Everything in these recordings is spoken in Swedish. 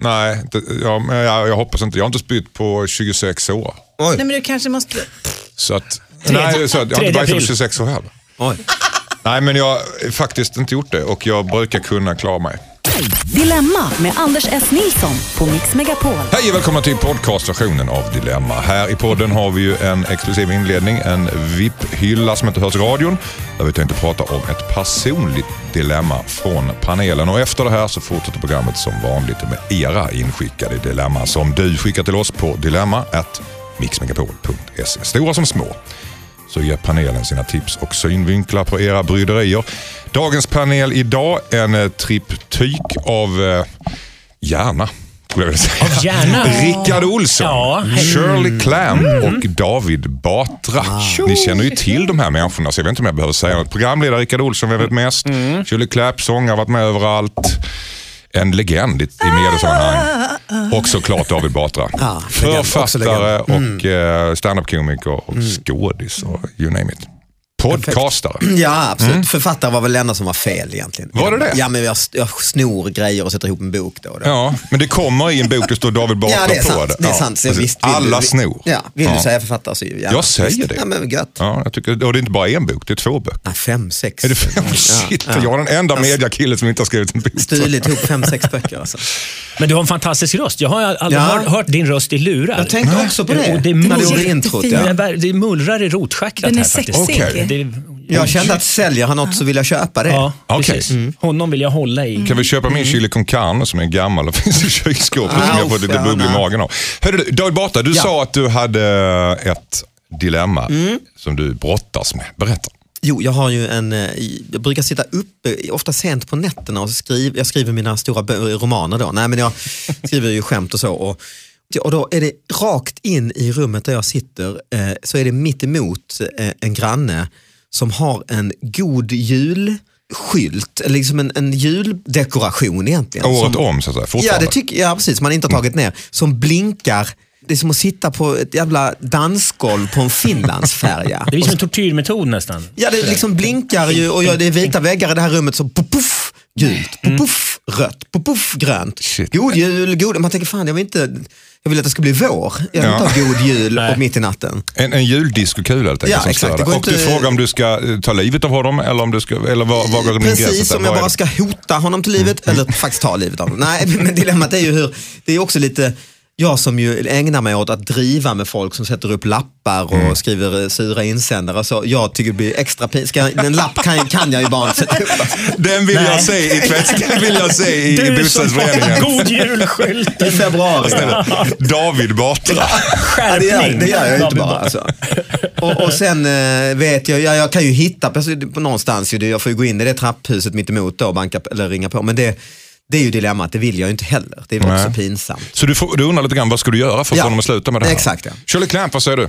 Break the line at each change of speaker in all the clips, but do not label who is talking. Nej, det, ja, men jag, jag hoppas inte. Jag har inte spytt på 26 år.
Oj.
Nej men du kanske måste...
Så att, nej, så att, jag har
tredje
inte bajsat på
april.
26 år heller.
Oj.
Nej, men jag har faktiskt inte gjort det och jag brukar kunna klara mig.
Dilemma med Anders S. Nilsson på Mix Megapol.
Hej och välkomna till podcastversionen av Dilemma. Här i podden har vi ju en exklusiv inledning, en VIP-hylla som inte hörs i radion, där vi tänkte prata om ett personligt dilemma från panelen. Och efter det här så fortsätter programmet som vanligt med era inskickade dilemma som du skickar till oss på dilemma@mixmegapol.se. Stora som små så ger panelen sina tips och synvinklar på era bryderier. Dagens panel idag, en eh, triptyk av eh, hjärna. skulle jag vilja säga.
Av hjärna?
Rickard Olsson,
Ja, hej. Mm.
Shirley Clamp och David Batra. Ni känner ju till de här människorna så jag vet inte om jag behöver säga något. Programledare Rickard Olsson, vi vet
Mm.
mest. Shirley Clamp, sångare, varit med överallt. En legend i i mediesammanhang. Och såklart David Batra.
Ja, legend, Mm. också
Författare och mm. standup-komiker och skådis och you name it. Podcastare.
Ja, absolut. Författare var väl det enda som var fel egentligen.
Mm. Var det det?
Ja, men jag, jag snor grejer och sätter ihop en bok då och då.
Ja, men det kommer i en bok, det står David Batra
Ja, det är
på
sant.
det.
Det är
Ja,
sant. Så
precis.
visst, vill
Alla
du,
snor.
Ja, vill
Ja.
du säga författare så gärna.
Jag säger
Visst.
det.
Ja, men gött.
Ja, jag tycker, och det är inte bara en bok, det är två böcker.
Ja, fem, sex.
Är det fem? Shit, jag är den enda mediakille som inte har skrivit en bok.
Stulit ihop fem, sex böcker alltså.
Men du har en fantastisk röst. Jag har aldrig
Ja.
hört, hört din röst i lurar.
Jag tänkte också på det.
Och det, är
När du
mullr-
gjorde introt.
ja.
det, är- det mullrar i rotschaktat
Den är
här faktiskt.
sexig.
Okej.
Det,
Jag kände att säljer han något så vill jag köpa det.
Ja,
Okej.
precis.
Mm.
Mm. Honom vill jag hålla i.
Kan vi köpa min chili con carne som är gammal och finns i kylskåpet som jag
Au,
fått lite
stjärna.
bubbel i magen av. Hörru du, David Batra, du
Ja. Mm.
sa att du hade eh, ett dilemma som du brottas med. Berätta.
Jo, jag har ju en, eh, jag brukar sitta uppe, ofta sent på nätterna och skriva, jag skriver mina stora bö- eh, romaner då. Nej men jag skriver ju skämt och så. Och, och då är det rakt in i rummet där jag sitter, eh, så är det mitt emot eh, en granne som har en god jul skylt, eller liksom en, en juldekoration egentligen.
Året
som,
om så att säga,
Ja,
fortfarande.
det tycker jag precis. Man inte har tagit ner. Som blinkar. Det är som att sitta på ett jävla dansgolv på en finlandsfärja.
Det är som en tortyrmetod nästan.
Ja, det liksom blinkar ju och jag, det är vita väggar i det här rummet så puff, gult, puff, rött, puff, grönt.
Shit.
God jul, god... Man tänker fan, jag vill inte... Jag vill att det ska bli vår. Jag vill
Ja.
inte ha god jul
Nej.
och mitt i natten.
en, en juldiscokula helt enkelt
Ja,
som
exakt.
slår
Det
dig.
går
Och du
inte-
frågar om du ska eh, ta livet av honom eller om du ska, eller vad, vad går din gräns?
Precis,
Så att säga,
om jag
vad är
bara
det?
ska hota honom till livet eller faktiskt ta livet av honom. Nej, men dilemmat är ju hur, det är också lite, jag som ju ägnar mig åt att driva med folk som sätter upp lappar och skriver eh, sura insändare. Så jag tycker det blir extra pinsamt. En lapp kan, kan jag ju bara inte sätta upp. alltså.
Den vill jag
Nej.
se i tvätt, den vill jag se i, i
Du som har
bostadsföreningen.
god julskylt.
I februari.
David Batra.
Ja, det, gör,
Skärpning.
det gör jag ju inte
David
bara. Alltså. Och, och sen eh, vet jag, jag, jag kan ju hitta perso- på någonstans, ju, det- jag får ju gå in i det trapphuset mitt emot då och banka, eller ringa på. Men det, det är ju dilemmat, det vill jag ju inte heller. Det är väl
Nej.
också pinsamt.
Så du, får, du undrar lite grann, vad ska du göra för att
Ja,
få honom att sluta med det här?
exakt, ja.
Shirley Clamp, vad säger du?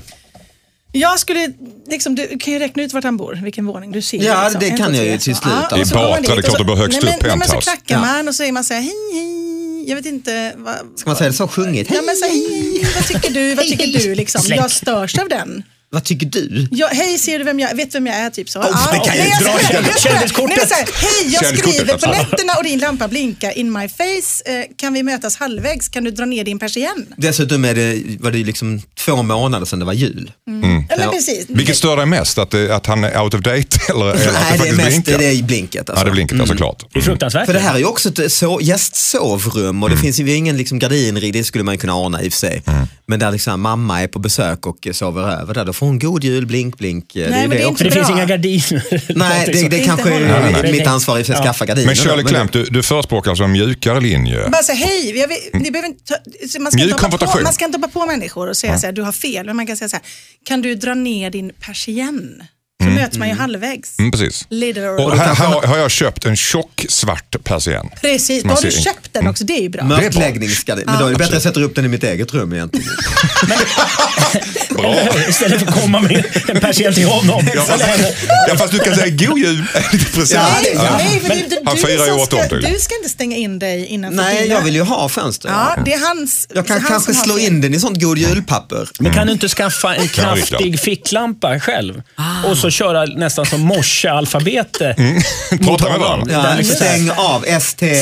Jag skulle, liksom, du kan ju räkna ut vart han bor, vilken våning. Du ser
Ja,
liksom,
det
en,
kan
två,
jag ju
tre,
till
så.
slut. Det är
och så går
Batra,
man dit
det är klart
och
det
så-
blir högst
nej,
upp
men-
på
nej, men
penthouse.
Så klackar
Ja.
man och så är man så här, hej, hej. Jag vet inte. Vad,
Ska man säga det så sjungit?
Ja, men så här, hej, hej, vad tycker du? Vad tycker du? Liksom.
Släck.
Jag störs av den.
Vad tycker du?
Ja, hej, ser du vem jag Vet du vem jag är? Typ så.
Oh, det kan jag
nej,
inte
jag-
dra.
nej, men så här,
Kändiskortet.
nej, så här, Hej, jag
Kändiskortet, alltså.
skriver på
absolut.
nätterna och din lampa blinkar in my face. Eh, kan vi mötas halvvägs? Kan du dra ner din persienn?
Dessutom är det, var det ju liksom två månader sedan det var jul.
Ja, men
Ja.
precis.
Vilket stör dig mest? Att, det- att han är out of date eller, eller att
Nej, det är
faktiskt
mest
blinkar?
det är blinket.
Ja,
Alltså.
det blinkar ja, såklart.
Det är fruktansvärt.
För det här är ju också ett so- gästsovrum och det finns ju ingen liksom gardinrig, det skulle man ju kunna ana i och för sig. Men där liksom mamma är på besök och eh, sover över där, då får hon god jul, blink, blink. eh,
Nej,
ju
men det är
också.
För det
Bra.
finns inga gardiner.
Nej, det, det
Inte
kanske
håller. Nej,
är
nej, nej.
mitt ansvar i och för sig att skaffa gardiner.
Men
då,
Shirley Clamp, du, du förespråkar alltså en mjukare linje?
Bara säga hej, jag
Mm.
vet, ni behöver inte ta, man, ska
Mjuk
inte hoppa på,
konfrontation.
man ska inte hoppa på människor och säga så här, du har fel, men man kan säga så här, kan du dra ner din persienn? Så möts man ju halvvägs.
Mm, precis.
Little
Och
old.
här, här har- har jag köpt en tjock svart persien.
Precis,
man
har du
ser- Mm.
köpt den också? Det är ju bra.
bra.
Mörkläggningsgardiner. Men då är det bättre att jag sätter upp den i mitt eget rum egentligen.
Bra.
Istället för att komma med en persienn till honom.
Ja, fast, ja, fast du kan säga god jul. Lite present.
Ja,
Nej,
det- ja.
nej, för det är ju inte
Han
du
firar ju
som
åt dem,
ska,
tydligen.
Du ska inte stänga in dig innanför
Nej,
dina-
jag vill ju ha fönster.
Ja, det är hans...
Jag kan
han
kanske
som har
slå
fel.
in den i sånt god julpapper.
Men kan du inte skaffa en
Kan vi, Claes?
Ah.
kraftig ficklampa själv? Och så köra nästan som morsealfabetet.
Prata med varandra.
Det är
Ja,
liksom så här.
stäng av, ST...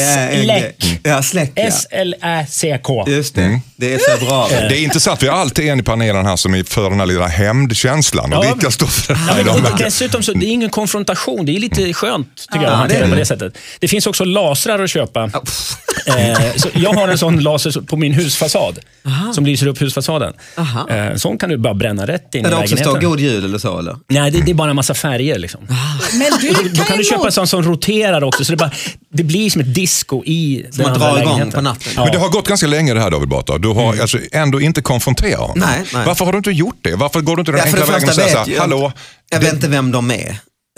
Släck.
Ja, släck ja.
S-L-Ä-C-K.
Just det, det är så bra.
Det är intressant, vi har alltid en i panelen här som är för den här lilla hämndkänslan. Och
Ja.
Rickard står för den
Ja,
här
men,
idag.
och dessutom så, det är ingen konfrontation. Det är lite skönt tycker jag, att hantera
det är
det på
det.
det sättet. Det finns också lasrar att köpa. Eh, så jag har en sån laser på min husfasad som lyser upp husfasaden.
Aha.
Eh, sån kan du bara bränna rätt in i
Där det också står
lägenheten.
god jul eller så eller?
Nej, det, det är bara en massa färger. Liksom.
Men du kan,
Då kan du
ju
köpa
nog-
en sån som roterar också, så det, bara, det blir som ett disco i den
man
andra
drar igång
lägenheten.
på natten.
Ja.
Men det har gått ganska länge det här David Batra. Du har alltså ändå inte konfronterat honom.
Nej, nej.
Varför har du inte gjort det? Varför går du inte den
Ja, för
enkla
det
vägen och
första
säger
vet
så här,
jag,
hallå?
jag vet inte vem de är,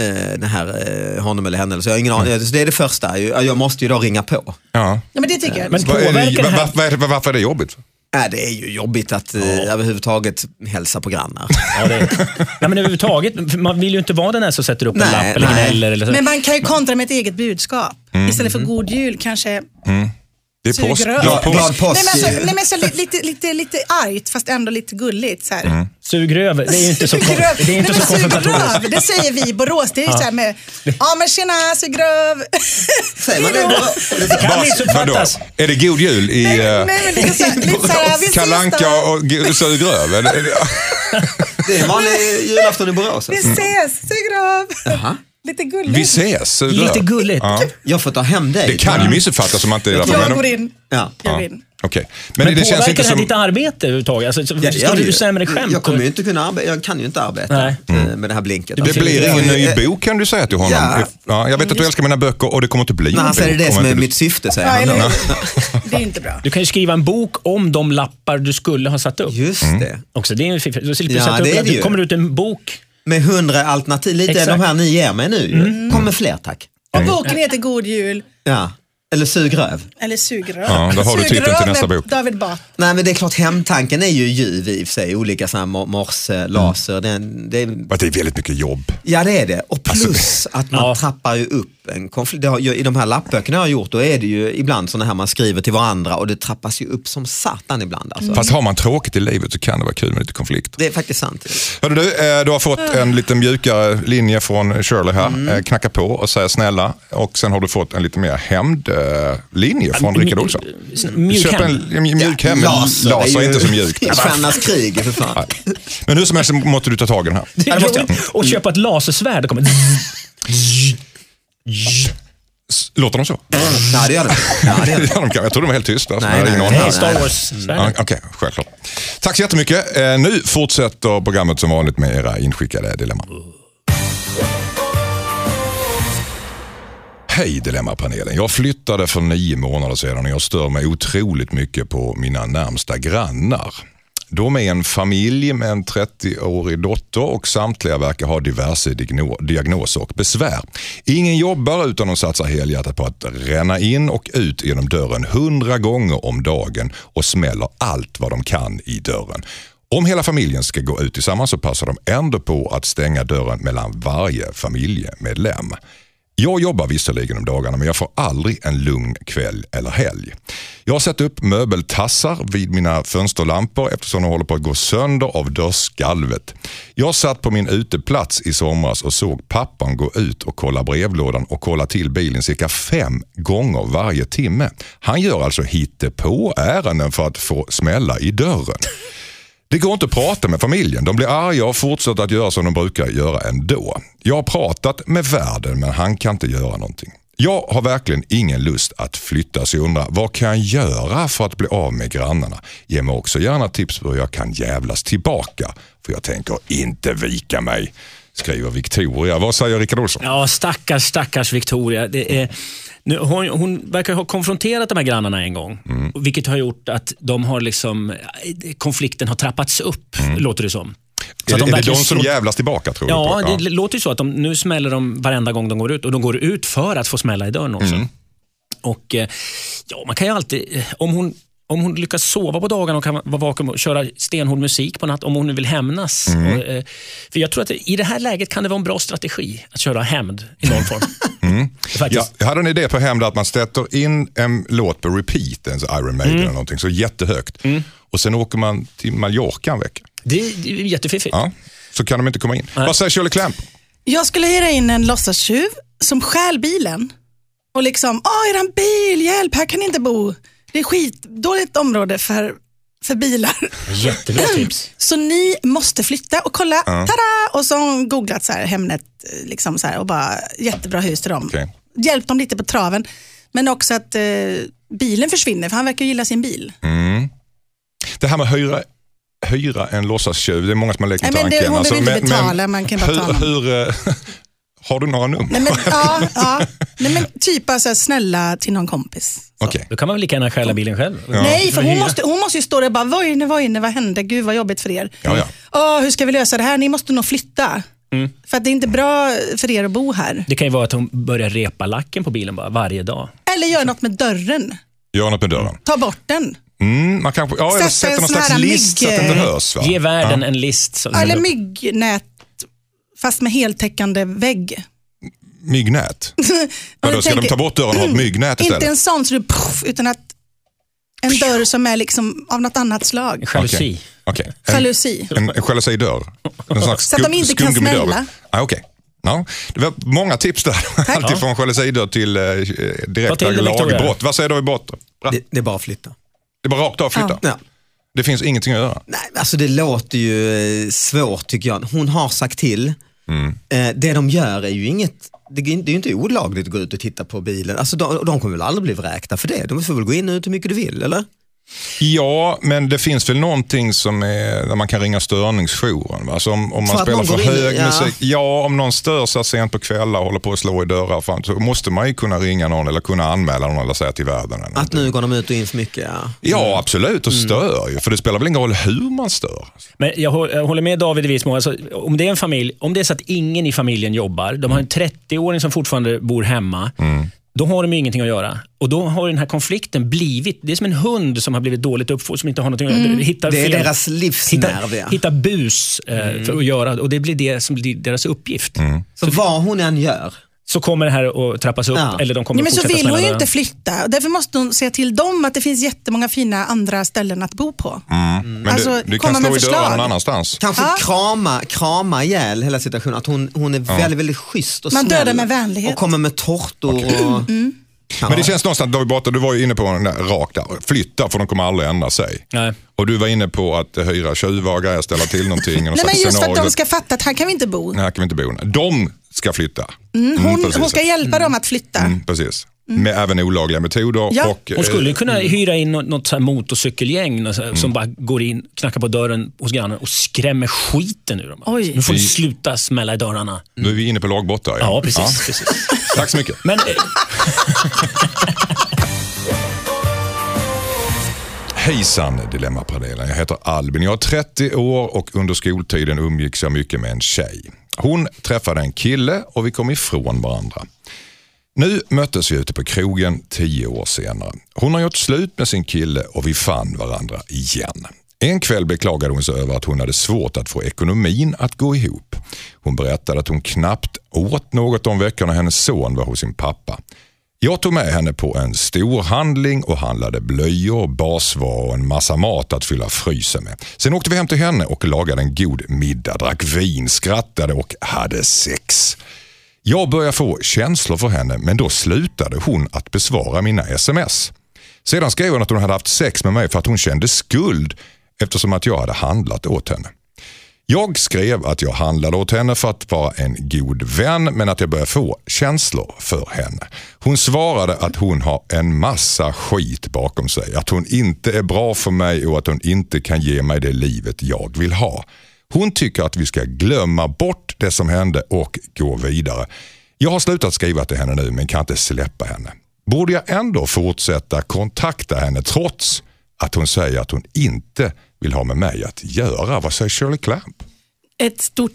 eh, den här eh, honom eller henne. Så jag har ingen aning. Så det är det första, ju. jag måste ju då ringa på.
Ja.
Ja, men det tycker jag.
Men-
Vad är
Påverkar
det,
det här-
var, var, var, varför är det jobbigt?
Äh, det är ju jobbigt att eh, överhuvudtaget hälsa på grannar.
Ja, det, nej, men överhuvudtaget, för man vill ju inte vara den här som sätter upp
Nej,
en lapp eller
nej.
gnäller. Eller så.
Men man kan ju kontra med ett eget budskap.
Mm.
Istället för god jul kanske
Det är
sugrör.
påsk.
Ja,
Glad
glad
påsk.
påsk.
Nej men, alltså, nej, men så li- lite, lite, lite argt fast ändå lite gulligt. Så här.
Mm.
Sug röv, det är ju inte så, kon-
Sugröv.
det är
Nej,
inte
men
så konfrontatoriskt.
sugröv, Det säger vi i Borås. Det är ju så här med, ja men tjena sugröv.
Säger man det då?
kan
Vad-
missuppfattas.
vadå? Är det god jul i eh,
Nej, men lite så här- lite så här, vi ses
Kalle Anka
då.
och G- Sug röv? Är det- är det-
Det är en vanlig julafton i Borås.
Vi
Alltså.
ses sugröv.
Jaha.
Lite gulligt.
Vi ses, Sug röv.
Lite gulligt.
Ja.
Jag får ta hem dig.
Det kan ju missuppfattas om man inte är där.
Jag
Men-
går in.
Ja.
Jag går
Ja.
in.
Okej. Men,
Men,
det
påverkar
känns inte
det här
som...
ditt arbete överhuvudtaget? Alltså, så-
Jag
skriver
gör det
du
ju.
sämre skämt?
Jag kommer ju inte kunna arbeta, jag kan ju inte arbeta
Nej.
eh, med det här blinket.
Det
Alltså,
blir ingen
jag-
ny
jag-
bok kan du säga till honom.
Ja.
Ja, jag vet att du älskar mina böcker och det kommer inte bli
Nej,
en
han
bok.
säger det
om
som är
inte du-
mitt syfte, säger
Ja,
han.
eller,
då.
det är inte bra.
Du kan ju skriva en bok om de lappar du skulle ha satt upp.
Just det.
Också. Det är en fiffig- Då slipper du
Ja,
sätta
det är
upp
det
det
ju.
kommer ut en bok.
Med hundra alternativ, lite
Exakt.
de här ni ger mig nu. ju. Kom med fler tack.
Mm.
Och boken heter God Jul
Ja. Eller sug röv.
eller Sugröv.
Ja, då har du titeln till
Sugröv
nästa
med
bok.
David Batra.
Nej men det är klart hemtanken är ju ljuv i och för sig, olika sådana här mor- morse, laser. Den- Det, är-
Att det är väldigt mycket jobb.
ja det är det. Och plus att man
Ja.
trappar ju upp en konflikt. Det har, ju- I de här lappböckerna jag har gjort, då är det ju ibland sådana här man skriver till varandra och det trappas ju upp som satan ibland. Alltså.
Fast har man tråkigt i livet så kan det vara kul med lite konflikt.
Det är faktiskt sant.
Hörru du, eh, du har fått en lite mjukare linje från Shirley här.
Mm.
Eh, Knacka på och säga snälla. Och sen har du fått en lite mer hämndlinje från Rickard Olsson. Du
Mjuk
köper en
hem.
en mjuk hem, men laser,
det är ju-
inte så mjukt.
Det är Stjärnornas krig för fan.
Nej. Men hur som helst så måste du ta tag i den här.
Det är roligt. Och köpa ett lasersvärd. Det kommer...
S- Låter de så?
Nej det gör det ja, det,
Ja,
gör det.
de kan. Jag tror de är helt tysta. så
Nej,
jag har
nej,
ingen
nej.
aning.
Nej, Star Wars-svärd.
Ja, Okej, självklart. Tack så jättemycket. Eh, Nu fortsätter programmet som vanligt med era inskickade dilemman. Hej Dilemmapanelen. Jag flyttade för nio månader sedan och jag stör mig otroligt mycket på mina närmsta grannar. De är en familj med en 30-årig dotter och samtliga verkar ha diverse digno- diagnoser och besvär. Ingen jobbar utan de satsar helhjärtat på att ränna in och ut genom dörren hundra gånger om dagen och smäller allt vad de kan i dörren. Om hela familjen ska gå ut tillsammans så passar de ändå på att stänga dörren mellan varje familjemedlem. Jag jobbar visserligen om dagarna men jag får aldrig en lugn kväll eller helg. Jag har satt upp möbeltassar vid mina fönsterlampor eftersom de håller på att gå sönder av dörrskalvet. Jag satt på min uteplats i somras och såg pappan gå ut och kolla brevlådan och kolla till bilen cirka fem gånger varje timme. Han gör alltså på ärenden för att få smälla i dörren. Det går inte att prata med familjen. De blir arga och fortsätter att göra som de brukar göra ändå. Jag har pratat med värden men han kan inte göra någonting. Jag har verkligen ingen lust att flytta så jag undrar vad kan jag göra för att bli av med grannarna? Ge mig också gärna tips på hur jag kan jävlas tillbaka. För jag tänker inte vika mig, skriver Victoria. Vad säger Rickard Olsson?
Ja, stackars, stackars Victoria. Det är, nu, hon, hon verkar ha konfronterat de här grannarna en gång,
Mm.
vilket har gjort att de har liksom, konflikten har trappats upp, låter det som. Så
Mm. är
att
det, är det
verkligen
de som
slår-
jävlas tillbaka tror
Ja,
du?
det
på?
l- låter ju så att de, nu smäller de varenda gång de går ut och de går ut för att få smälla i dörren också. Och eh, ja, man kan ju alltid, eh, om hon, om hon lyckas sova på dagarna och kan vara vaken och köra stenhård musik på natten, om hon nu vill hämnas. Och, eh, för jag tror att det, i det här läget kan det vara en bra strategi att köra hämnd i någon form.
Ja,
Faktiskt.
jag hade en idé på hem där att man sätter in en låt på repeat, en sån Iron Maiden eller någonting, så jättehögt. Och sen åker man till Mallorca en vecka.
Det, är- det är jättefiffigt.
Ja, så kan de inte komma in. Vad säger Shirley Clamp?
Jag skulle hyra in en låtsastjuv som stjäl bilen. Och liksom, åh eran bil, hjälp, här kan ni inte bo. Det är skitdåligt område för, för bilar.
Jättebra tips.
Så ni måste flytta och kolla, tada! Och så har hon googlat så här, Hemnet eh, liksom så här, och bara jättebra hus till dem.
Okej.
Hjälpt dem lite på traven. Men också att eh, bilen försvinner, för han verkar ju gilla sin bil.
Det här med hyra, hyra en låtsastjuv, det är många som har lekt med
Nej, men det-
tanken. Alltså,
hon behöver inte betala, man kan bara ta
hur,
honom.
hur, eh, Har du några nummer?
Nej men, ja, ja. Nej, men typ alltså, snälla till någon kompis.
Okej.
Då kan man väl lika gärna stjäla bilen själv.
Nej, för hon
Hyra.
måste, hon måste ju stå där och bara, vad är det, vad är det, vad hände, gud vad jobbigt för er.
Ja, Mm. ja.
Åh, hur ska vi lösa det här, ni måste nog flytta. För att det är inte bra för er att bo här.
Det kan ju vara att hon börjar repa lacken på bilen bara varje dag.
Eller gör något med dörren,
Gör något med dörren.
ta bort den.
Mm, man kanske, ja, eller
Sätta
sätter
en
någon
sån
slags
här
list så att det inte
mygg-
hörs. Va?
Ge världen en list.
Mm.
som-
Eller myggnät, fast med heltäckande vägg.
Myggnät.
Och
Ja, då
du
ska de
tänker,
ta bort dörren och ha ett myggnät
Inte
istället.
en sån, så du, puff, utan att en dörr som är liksom av något annat slag.
Jalusi.
Okej. Okej.
Jalusi.
En, en jalusidörr. En slags
Så att de inte kan
skumgummidörr.
smälla.
Ah, Okej. Ja, det var många tips där. Alltifrån från jalusidörr till eh, direkta
Vad till det, Victoria?
lagbrott. Vad säger du i botten? Bra.
Det, det är bara att flytta.
Det är bara rakt av flytta.
Ja.
Det finns ingenting att göra.
Nej, alltså det låter ju eh, svårt tycker jag. Hon har sagt till. Eh, det de gör är ju inget, det är ju det är ju inte olagligt att gå ut och titta på bilen. Alltså de, de kommer väl aldrig bli vräkta för det. De får väl gå in och ut hur mycket du vill, eller?
Ja, men det finns väl någonting som är, där man kan ringa störningsjouren. Va? Alltså om, om
För
man
att
spelar
någon
för
går in,
hög
ja.
musik. Ja, om någon stör sig sent på kvällar och håller på att slå i dörrar. Fram, så måste man ju kunna ringa någon eller kunna anmäla någon eller säga till världen. Eller
Att nu går de ut och in för mycket, ja.
Mm.
Ja, absolut. Och stör ju. För det spelar väl ingen roll hur man stör.
Men jag hå- jag håller med David i viss mån. Alltså, om, det är en familj, om det är så att ingen i familjen jobbar, de har en 30-åring som fortfarande bor hemma,
Mm.
då har de ju ingenting att göra. Och då har den här konflikten blivit, det är som en hund som har blivit dåligt uppfostrad, som inte har någonting att
Mm.
göra. Hittar
Det är
fel-
deras livsnerv.
hitta,
ja. Mm.
hitta bus eh, för att göra, och det blir det som blir deras uppgift.
Så vad hon än gör,
Så kommer det här att trappas upp,
Ja.
eller de kommer
Nej, men så
fortsätta
vill
smälla
hon ju
dörren.
inte flytta. Och Därför måste hon säga till dem att det finns jättemånga fina andra ställen att bo på.
Men
Alltså,
du, du
komma
kan
med
slå i
förslag.
dörrar någon annanstans.
kanske
Ja.
krama, krama ihjäl hela situationen. Att hon, hon är väldigt, väldigt schysst och
Man
snäll.
dödar med vänlighet. Mm,
Och kommer med tårtor och... Ja.
Men det känns någonstans, David Batra, du var ju inne på den där, rakt där. Flytta, för de kommer aldrig ändra sig.
Nej.
Och du var inne på att hyra tjuvar och grejer, ställa till någonting.
Nej, men just för att de ska fatta att här kan vi inte bo.
Nej, här kan vi inte bo. De ska flytta.
Mm,
Mm,
Hon,
precis.
hon ska hjälpa dem att flytta.
Mm, precis. Med även olagliga metoder.
Ja.
Och,
Hon
eh,
skulle ju kunna hyra in något, något så här motorcykelgäng något så här, som bara går in, knackar på dörren hos grannen och skrämmer skiten ur dem.
Oj.
Nu får ni sluta smälla i dörrarna.
eh, Nu är vi inne på lagbrott där.
Ja, precis.
Ja.
precis.
Tack så mycket.
Men eh,
Hejsan Dilemmapanelen, jag heter Albin. Jag är 30 år och under skoltiden umgicks jag mycket med en tjej. Hon träffade en kille och vi kom ifrån varandra. Nu möttes vi ute på krogen tio år senare. Hon har gjort slut med sin kille och vi fann varandra igen. En kväll beklagade hon sig över att hon hade svårt att få ekonomin att gå ihop. Hon berättade att hon knappt åt något de veckorna hennes son var hos sin pappa. Jag tog med henne på en storhandling och handlade blöjor, basvaror och en massa mat att fylla frysen med. Sen åkte vi hem till henne och lagade en god middag, drack vin, skrattade och hade sex. Jag började få känslor för henne men då slutade hon att besvara mina sms. Sedan skrev hon att hon hade haft sex med mig för att hon kände skuld eftersom att jag hade handlat åt henne. Jag skrev att jag handlade åt henne för att vara en god vän men att jag började få känslor för henne. Hon svarade att hon har en massa skit bakom sig, att hon inte är bra för mig och att hon inte kan ge mig det livet jag vill ha. Hon tycker att vi ska glömma bort det som hände och gå vidare. Jag har slutat skriva till henne nu men kan inte släppa henne. Borde jag ändå fortsätta kontakta henne trots att hon säger att hon inte vill ha med mig att göra? Vad säger Shirley Clamp?
Ett stort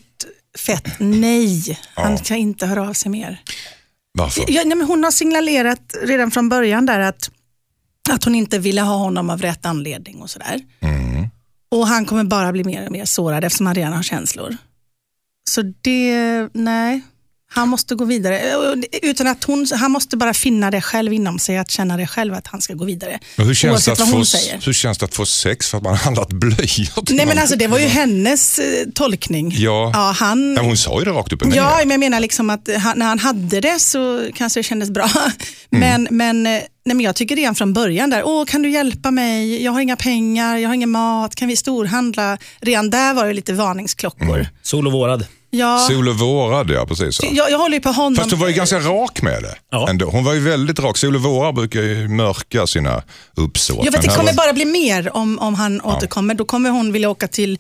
fett nej. Han ska inte höra av sig mer.
Varför?
Ja, nej, men hon har signalerat redan från början där att, att hon inte ville ha honom av rätt anledning och sådär.
Mm.
Och han kommer bara bli mer och mer sårad eftersom han redan har känslor. Så det, nej. Han måste gå vidare. Eh, Och det- Utan att hon, han måste bara finna det själv inom sig, att känna det själv att han ska gå vidare.
Men hur, känns det
Oavsett
att
vad
få,
hon säger.
hur känns det att få sex för att man har handlat blöjor? till
Nej men
någon?
alltså det var ju hennes eh, tolkning.
Ja.
ja han...
Ja, hon sa ju det rakt upp och ner.
Ja, men jag menar liksom att han, när han hade det så kanske det kändes bra. Men,
Mm.
men, eh, nej, men jag tycker redan från början där, åh kan du hjälpa mig? Jag har inga pengar, jag har ingen mat, kan vi storhandla? Redan där var det lite varningsklockor.
Sol och vårad.
Ja,
Mm. Sol och vårad, ja precis. Så.
jag, jag håller ju på honom.
Fast hon var ju ganska rak med det.
Ja.
Ändå. Hon var ju väldigt rak. Sol och vårad brukar ju mörka sina uppsåt.
Jag vet,
Men
det
här
kommer
var-
bara bli mer om, om han återkommer. Då kommer hon vilja åka till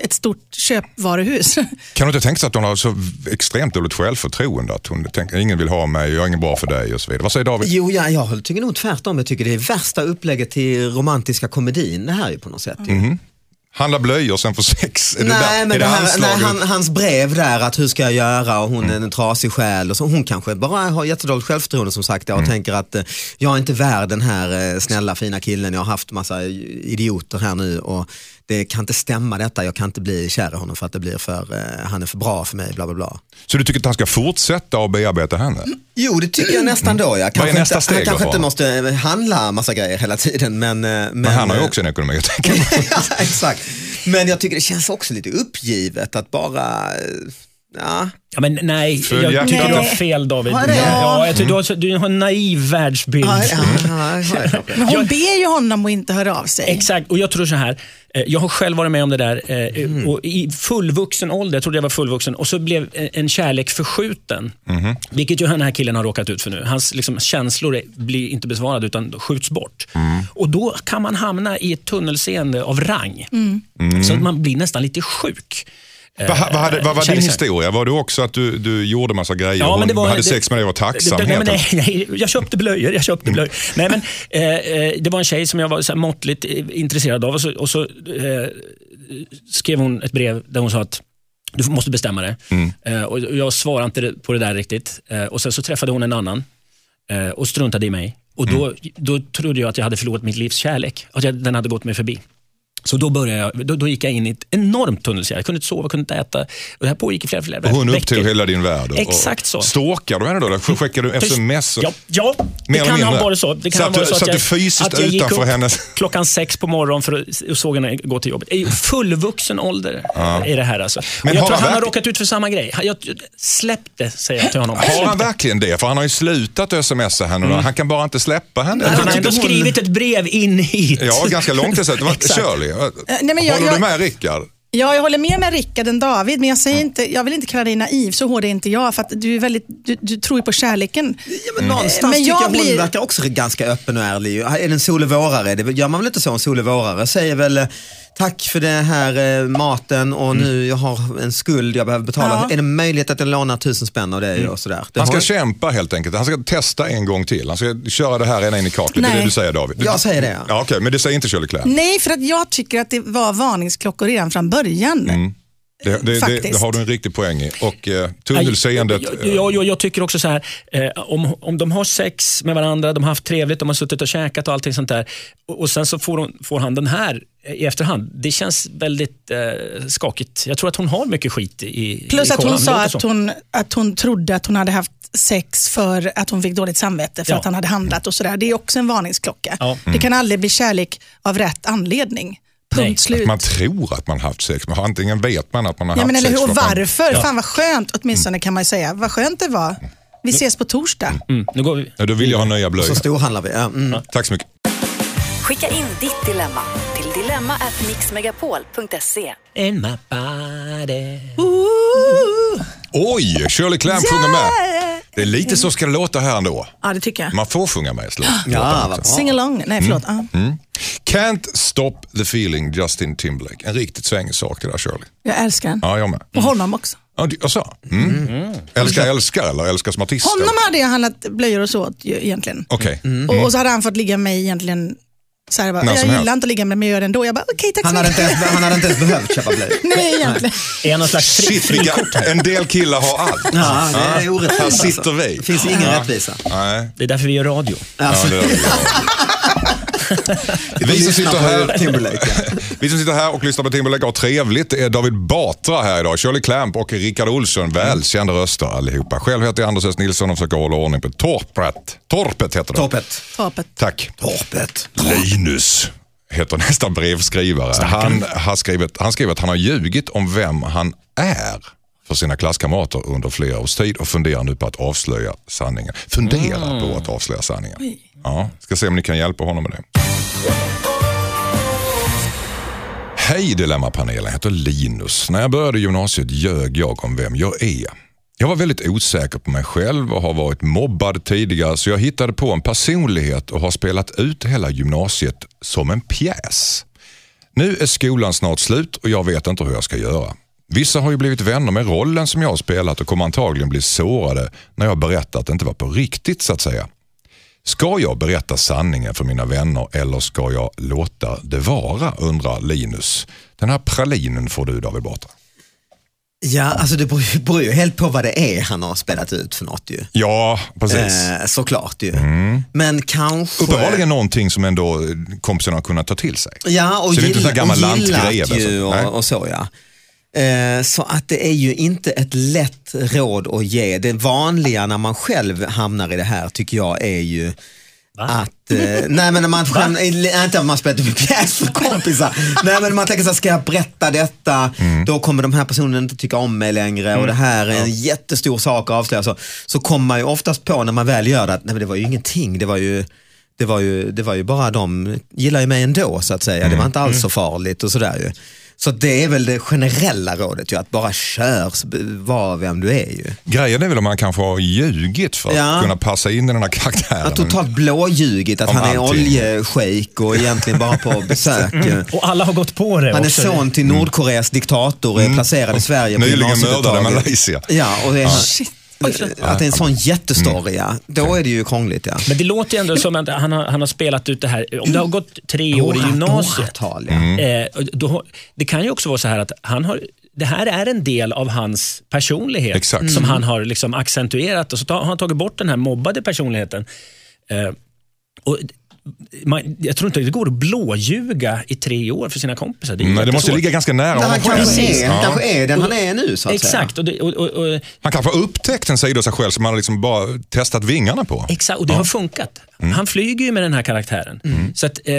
ett stort köpvaruhus.
Kan du inte tänka sig att hon har så extremt dåligt självförtroende? Att hon tänker ingen vill ha mig, jag är ingen bra för dig och så vidare. Vad säger David?
Jo, ja, jag tycker nog tvärtom. Jag tycker det är värsta upplägget till romantiska komedin det här ju på något sätt.
Handla blöjor sen får sex. Är det där?
Nej,
är
men
det
det här, nej,
anslaget?
han, hans brev där att hur ska jag göra och hon är en trasig själ och så. Hon kanske bara har jättedåligt självförtroende som sagt
Mm.
ja, och tänker att eh, jag är inte värd den här eh, snälla fina killen. Jag har haft massa idioter här nu och det kan inte stämma detta. Jag kan inte bli kär i honom för att det blir för, eh, han är för bra för mig, bla bla bla.
Så du tycker att han ska fortsätta att bearbeta henne?
Jo, det tycker jag nästan då. Ja. Kanske
nästa
inte,
steg
han
då
kanske
för
inte
honom?
måste eh, handla massa grejer hela tiden. Men, eh, men,
Men han har ju också en ekonomi att tänka på.
ja, exakt. Men jag tycker det känns också lite uppgivet att bara, eh, ja.
Ja, men nej, jag
Följaktligen-
tycker du har
Nej.
fel David.
Har jag det?
Ja, jag tycker du, har, så- du har en naiv världsbild.
Ja, ja, ja, ja, ja, ja.
Men hon ber ju honom att inte höra av sig.
Exakt, och jag tror så här. eh, Jag har själv varit med om det där eh, och i fullvuxen ålder, jag trodde jag var fullvuxen, och så blev eh, en kärlek förskjuten. Vilket ju den här killen har råkat ut för nu. Hans liksom, känslor är, blir inte besvarade utan skjuts bort. Och då kan man hamna i ett tunnelseende av rang. Så att man blir nästan lite sjuk. Eh,
Vad, vad, hade, vad var din
Kärleksverk.
historia? Var det också att du, du gjorde massa grejer?
Ja, men det
Hon
var,
hade
det-
sex med dig och var tacksam?
det-
helt Mm.
Nej, men
enkelt.
nej, nej, jag köpte blöjor. Jag köpte blöjor. Nej, men, eh, eh, det var en tjej som jag var så här måttligt eh, intresserad av och så, och så eh, skrev hon ett brev där hon sa att du måste bestämma dig.
Mm.
Eh, och jag svarade inte på det där riktigt. Eh, och Sen så träffade hon en annan eh, och struntade i mig. Och då,
Mm.
då trodde jag att jag hade förlorat mitt livs kärlek. Att jag, den hade gått mig förbi. Så då, började jag, då, då gick jag in i ett enormt tunnelseende. Jag kunde inte sova, kunde inte äta. Och det här pågick i flera, flera
Och Hon
veckor.
upptog hela din värld. och-
Exakt så.
och Stalkar du henne då? Skickar du sms? och-
Ja, ja
Mer
det
eller
kan
mindre.
ha varit så. Det kan
Så
ha
att
varit
du-
så,
så att
jag,
du fysiskt
att jag gick
utanför
upp
hennes-
klockan sex på morgonen för att, och såg henne gå till jobbet. Det är ju fullvuxen ålder i det här. Alltså.
Men
Men jag
har
tror
han
han har
verk-
råkat ut för samma grej. Han- Jag, jag, släpp det, säger jag till honom.
Har
Släpp
han
det.
verkligen det? För han har ju slutat smsa henne. och Han kan bara inte släppa henne.
Mm. han
Jag
har
tycker
ändå
hon-
skrivit ett brev in hit.
Ja, ganska långt till sig. Det var-
Exakt. Eh,
Shirley,
nej, men jag-
håller du
jag-
med Rickard?
Ja, jag håller med med Rickard än David, men jag, säger inte, jag vill inte kalla dig naiv, så hård är inte jag, för att du, är väldigt, du, du tror ju på kärleken.
Ja, men någonstans
Men
tycker
jag
jag hon
blir-
verkar också ganska öppen och ärlig. Är det en solevårare? Det gör man väl inte så en solevårare? Säger väl eh, tack för det här eh, maten och
Mm.
nu jag har en skuld jag behöver betala.
Ja.
Är det möjligt att jag lånar tusen spänn av dig och sådär? Det
Mm. Han ska
har-
kämpa helt enkelt. Han ska testa en gång till. Han ska köra det här ända in i kaklet. Det är
Nej.
det du säger David.
Jag säger det,
Ja,
ja.
Okej, men det säger inte Shirley Clamp.
Nej, för att jag tycker att det var varningsklockor redan från början.
Mm.
Det, det, det,
Faktiskt.
det har du en riktig poäng i. Och eh, tunnelseendet.
Jag, jag, jag, jag tycker också så här, eh, om, om de har sex med varandra, de har haft trevligt, de har suttit och käkat och allting sånt där. Och, och sen så får, hon, får han den här eh, i efterhand. Det känns väldigt eh, skakigt. Jag tror att hon har mycket skit i
Plus
i
att hon
kolan. Det
sa
låter
att
så.
hon, att hon trodde att hon hade haft sex för att hon fick dåligt samvete för
Ja.
att han hade handlat och sådär. Det är också en varningsklocka.
Ja. Mm.
Det kan aldrig bli kärlek av rätt anledning. Punkt
Nej.
slut.
eh, Man tror att man haft sex, men antingen vet man att man har
Ja,
haft
men eller
sex.
hur? Och
för att man-
varför? Fan vad skönt, åtminstone kan man ju säga. Vad skönt det var. Vi ses på torsdag.
Mm, nu går vi.
Ja, då vill jag ha nya
Så
blöjor.
storhandlar vi. Ja, mm.
Tack så mycket.
Skicka in ditt dilemma till dilemma@mixmegapol.se.
In my body.
Oj, Shirley Clamp sjunger med. Det är lite så ska det låta här ändå.
Ja, det tycker jag.
Man får sjunga med i slut.
ja vad bra.
Sing along.
Mm.
Nej, förlåt. Ja.
Can't stop the feeling, Justin Timberlake. En riktigt svängig sak det där Shirley.
Jag älskar
Mm.
den.
Ja, jag med.
Och honom också.
Ja, du- Jaså? Mm. Älskar älskar eller älskar som artist? eller?
Honom hade jag handlat blöjor och så åt ju egentligen.
Okej.
Mm.
Mm.
Och, och så hade han fått ligga med mig egentligen. Så här, jag bara,
När
jag
som helst.
gillar inte att ligga med mig, men jag gör det ändå. Jag bara, okej tack
Han
så
hade,
mycket.
inte ens, han hade inte ens behövt köpa blöjor.
Nej, egentligen.
Är jag någon slags fri,
Shit, vilka, en del killar har allt.
Ja, det är orättvist. alltså.
Här sitter vi.
Det finns ingen rättvisa.
Nej,
Alltså.
Det är därför vi gör radio.
ja, det är det. Vi som, sitter här,
Timberlake.
vi som sitter här och lyssnar på Timberlake har trevligt. Det är David Batra här idag, Shirley Clamp och Rickard
Mm.
Olsson. Välkända röster allihopa. Själv heter jag Anders S. Nilsson och försöker hålla ordning på torpet. Torpet heter det.
Torpet.
Tapet.
Tack.
Torpet.
Linus heter nästa brevskrivare. Han, har skrivit, han skriver att han har ljugit om vem han är för sina klasskamrater under flera års tid och funderar nu på att avslöja sanningen. Funderar på att avslöja sanningen. Ja, ska se om ni kan hjälpa honom med det. Hej Dilemmapanelen, jag heter Linus. När jag började gymnasiet ljög jag om vem jag är. Jag var väldigt osäker på mig själv och har varit mobbad tidigare så jag hittade på en personlighet och har spelat ut hela gymnasiet som en pjäs. Nu är skolan snart slut och jag vet inte hur jag ska göra. Vissa har ju blivit vänner med rollen som jag har spelat och kommer antagligen bli sårade när jag berättar att det inte var på riktigt så att säga. Ska jag berätta sanningen för mina vänner eller ska jag låta det vara undrar Linus. Den här pralinen får du David Batra.
Ja, alltså det beror ju, beror ju helt på vad det är han har spelat ut för något ju.
Ja, precis.
Eh, såklart ju. Men kanske...
Mm. Uppenbarligen någonting som ändå kompisarna har kunnat ta till sig.
Ja, och,
Så det är inte
gill,
sån här gammal
och gillat
lantgrej eller så.
ju
Nej.
och, och så ja. Eh, Så att det är ju inte ett lätt råd att ge. Det vanliga när man själv hamnar i det här tycker jag är ju att, eh, nej men när man själv, eh, inte att man spelar typ pjäs för kompisar. nej men man tänker så här, ska jag berätta detta, då kommer de här personerna inte tycka om mig längre och det här är en jättestor sak att avslöja. Så, så kommer man ju oftast på när man väl gör det att, nej men det var ju ingenting, det var ju det var, ju, det var ju bara de gillar ju mig ändå så att säga. Det var inte alls så farligt och sådär ju. Så det är väl det generella rådet ju, att bara kör, var vem du är ju.
Grejen är väl om man kanske har ljugit för att
Ja.
kunna passa in i den här karaktären.
Att totalt blåljugit, att
Om
han är
allting.
oljeshejk och egentligen bara på besök. ju.
Och alla har gått på det
Han är
också.
son till Nordkoreas diktator, är placerad i Sverige på
Nyligen
gymnasiet
mördade
ett tag.
Malaysia.
Ja, och det är,
Shit. Oj, förlåt.
att det är en sån jättestory, ja. Då är det ju krångligt ja.
Men det låter ju ändå som att han har, han har spelat ut det här. Om det har gått tre år i
Årat-
gymnasiet.
åratal, ja.
Mm.
Eh, och då, har- det kan ju också vara så här att han har, det här är en del av hans personlighet
Exakt. Mm.
som han har liksom accentuerat och så ta, har han tagit bort den här mobbade personligheten. Eh, och man, jag tror inte det går att blåljuga i tre år för sina kompisar. Det, är ju
Nej, det måste
jättesvårt.
ligga ganska nära
Men han
honom
kanske
själv.
är, han
Ja.
kanske är den han är nu så att säga.
Exakt, och det, och, och, och,
Han kanske har upptäckt en sida av sig själv som han liksom bara testat vingarna på.
Exakt, och det har funkat.
Mm.
Han flyger ju med den här karaktären. Så att, eh,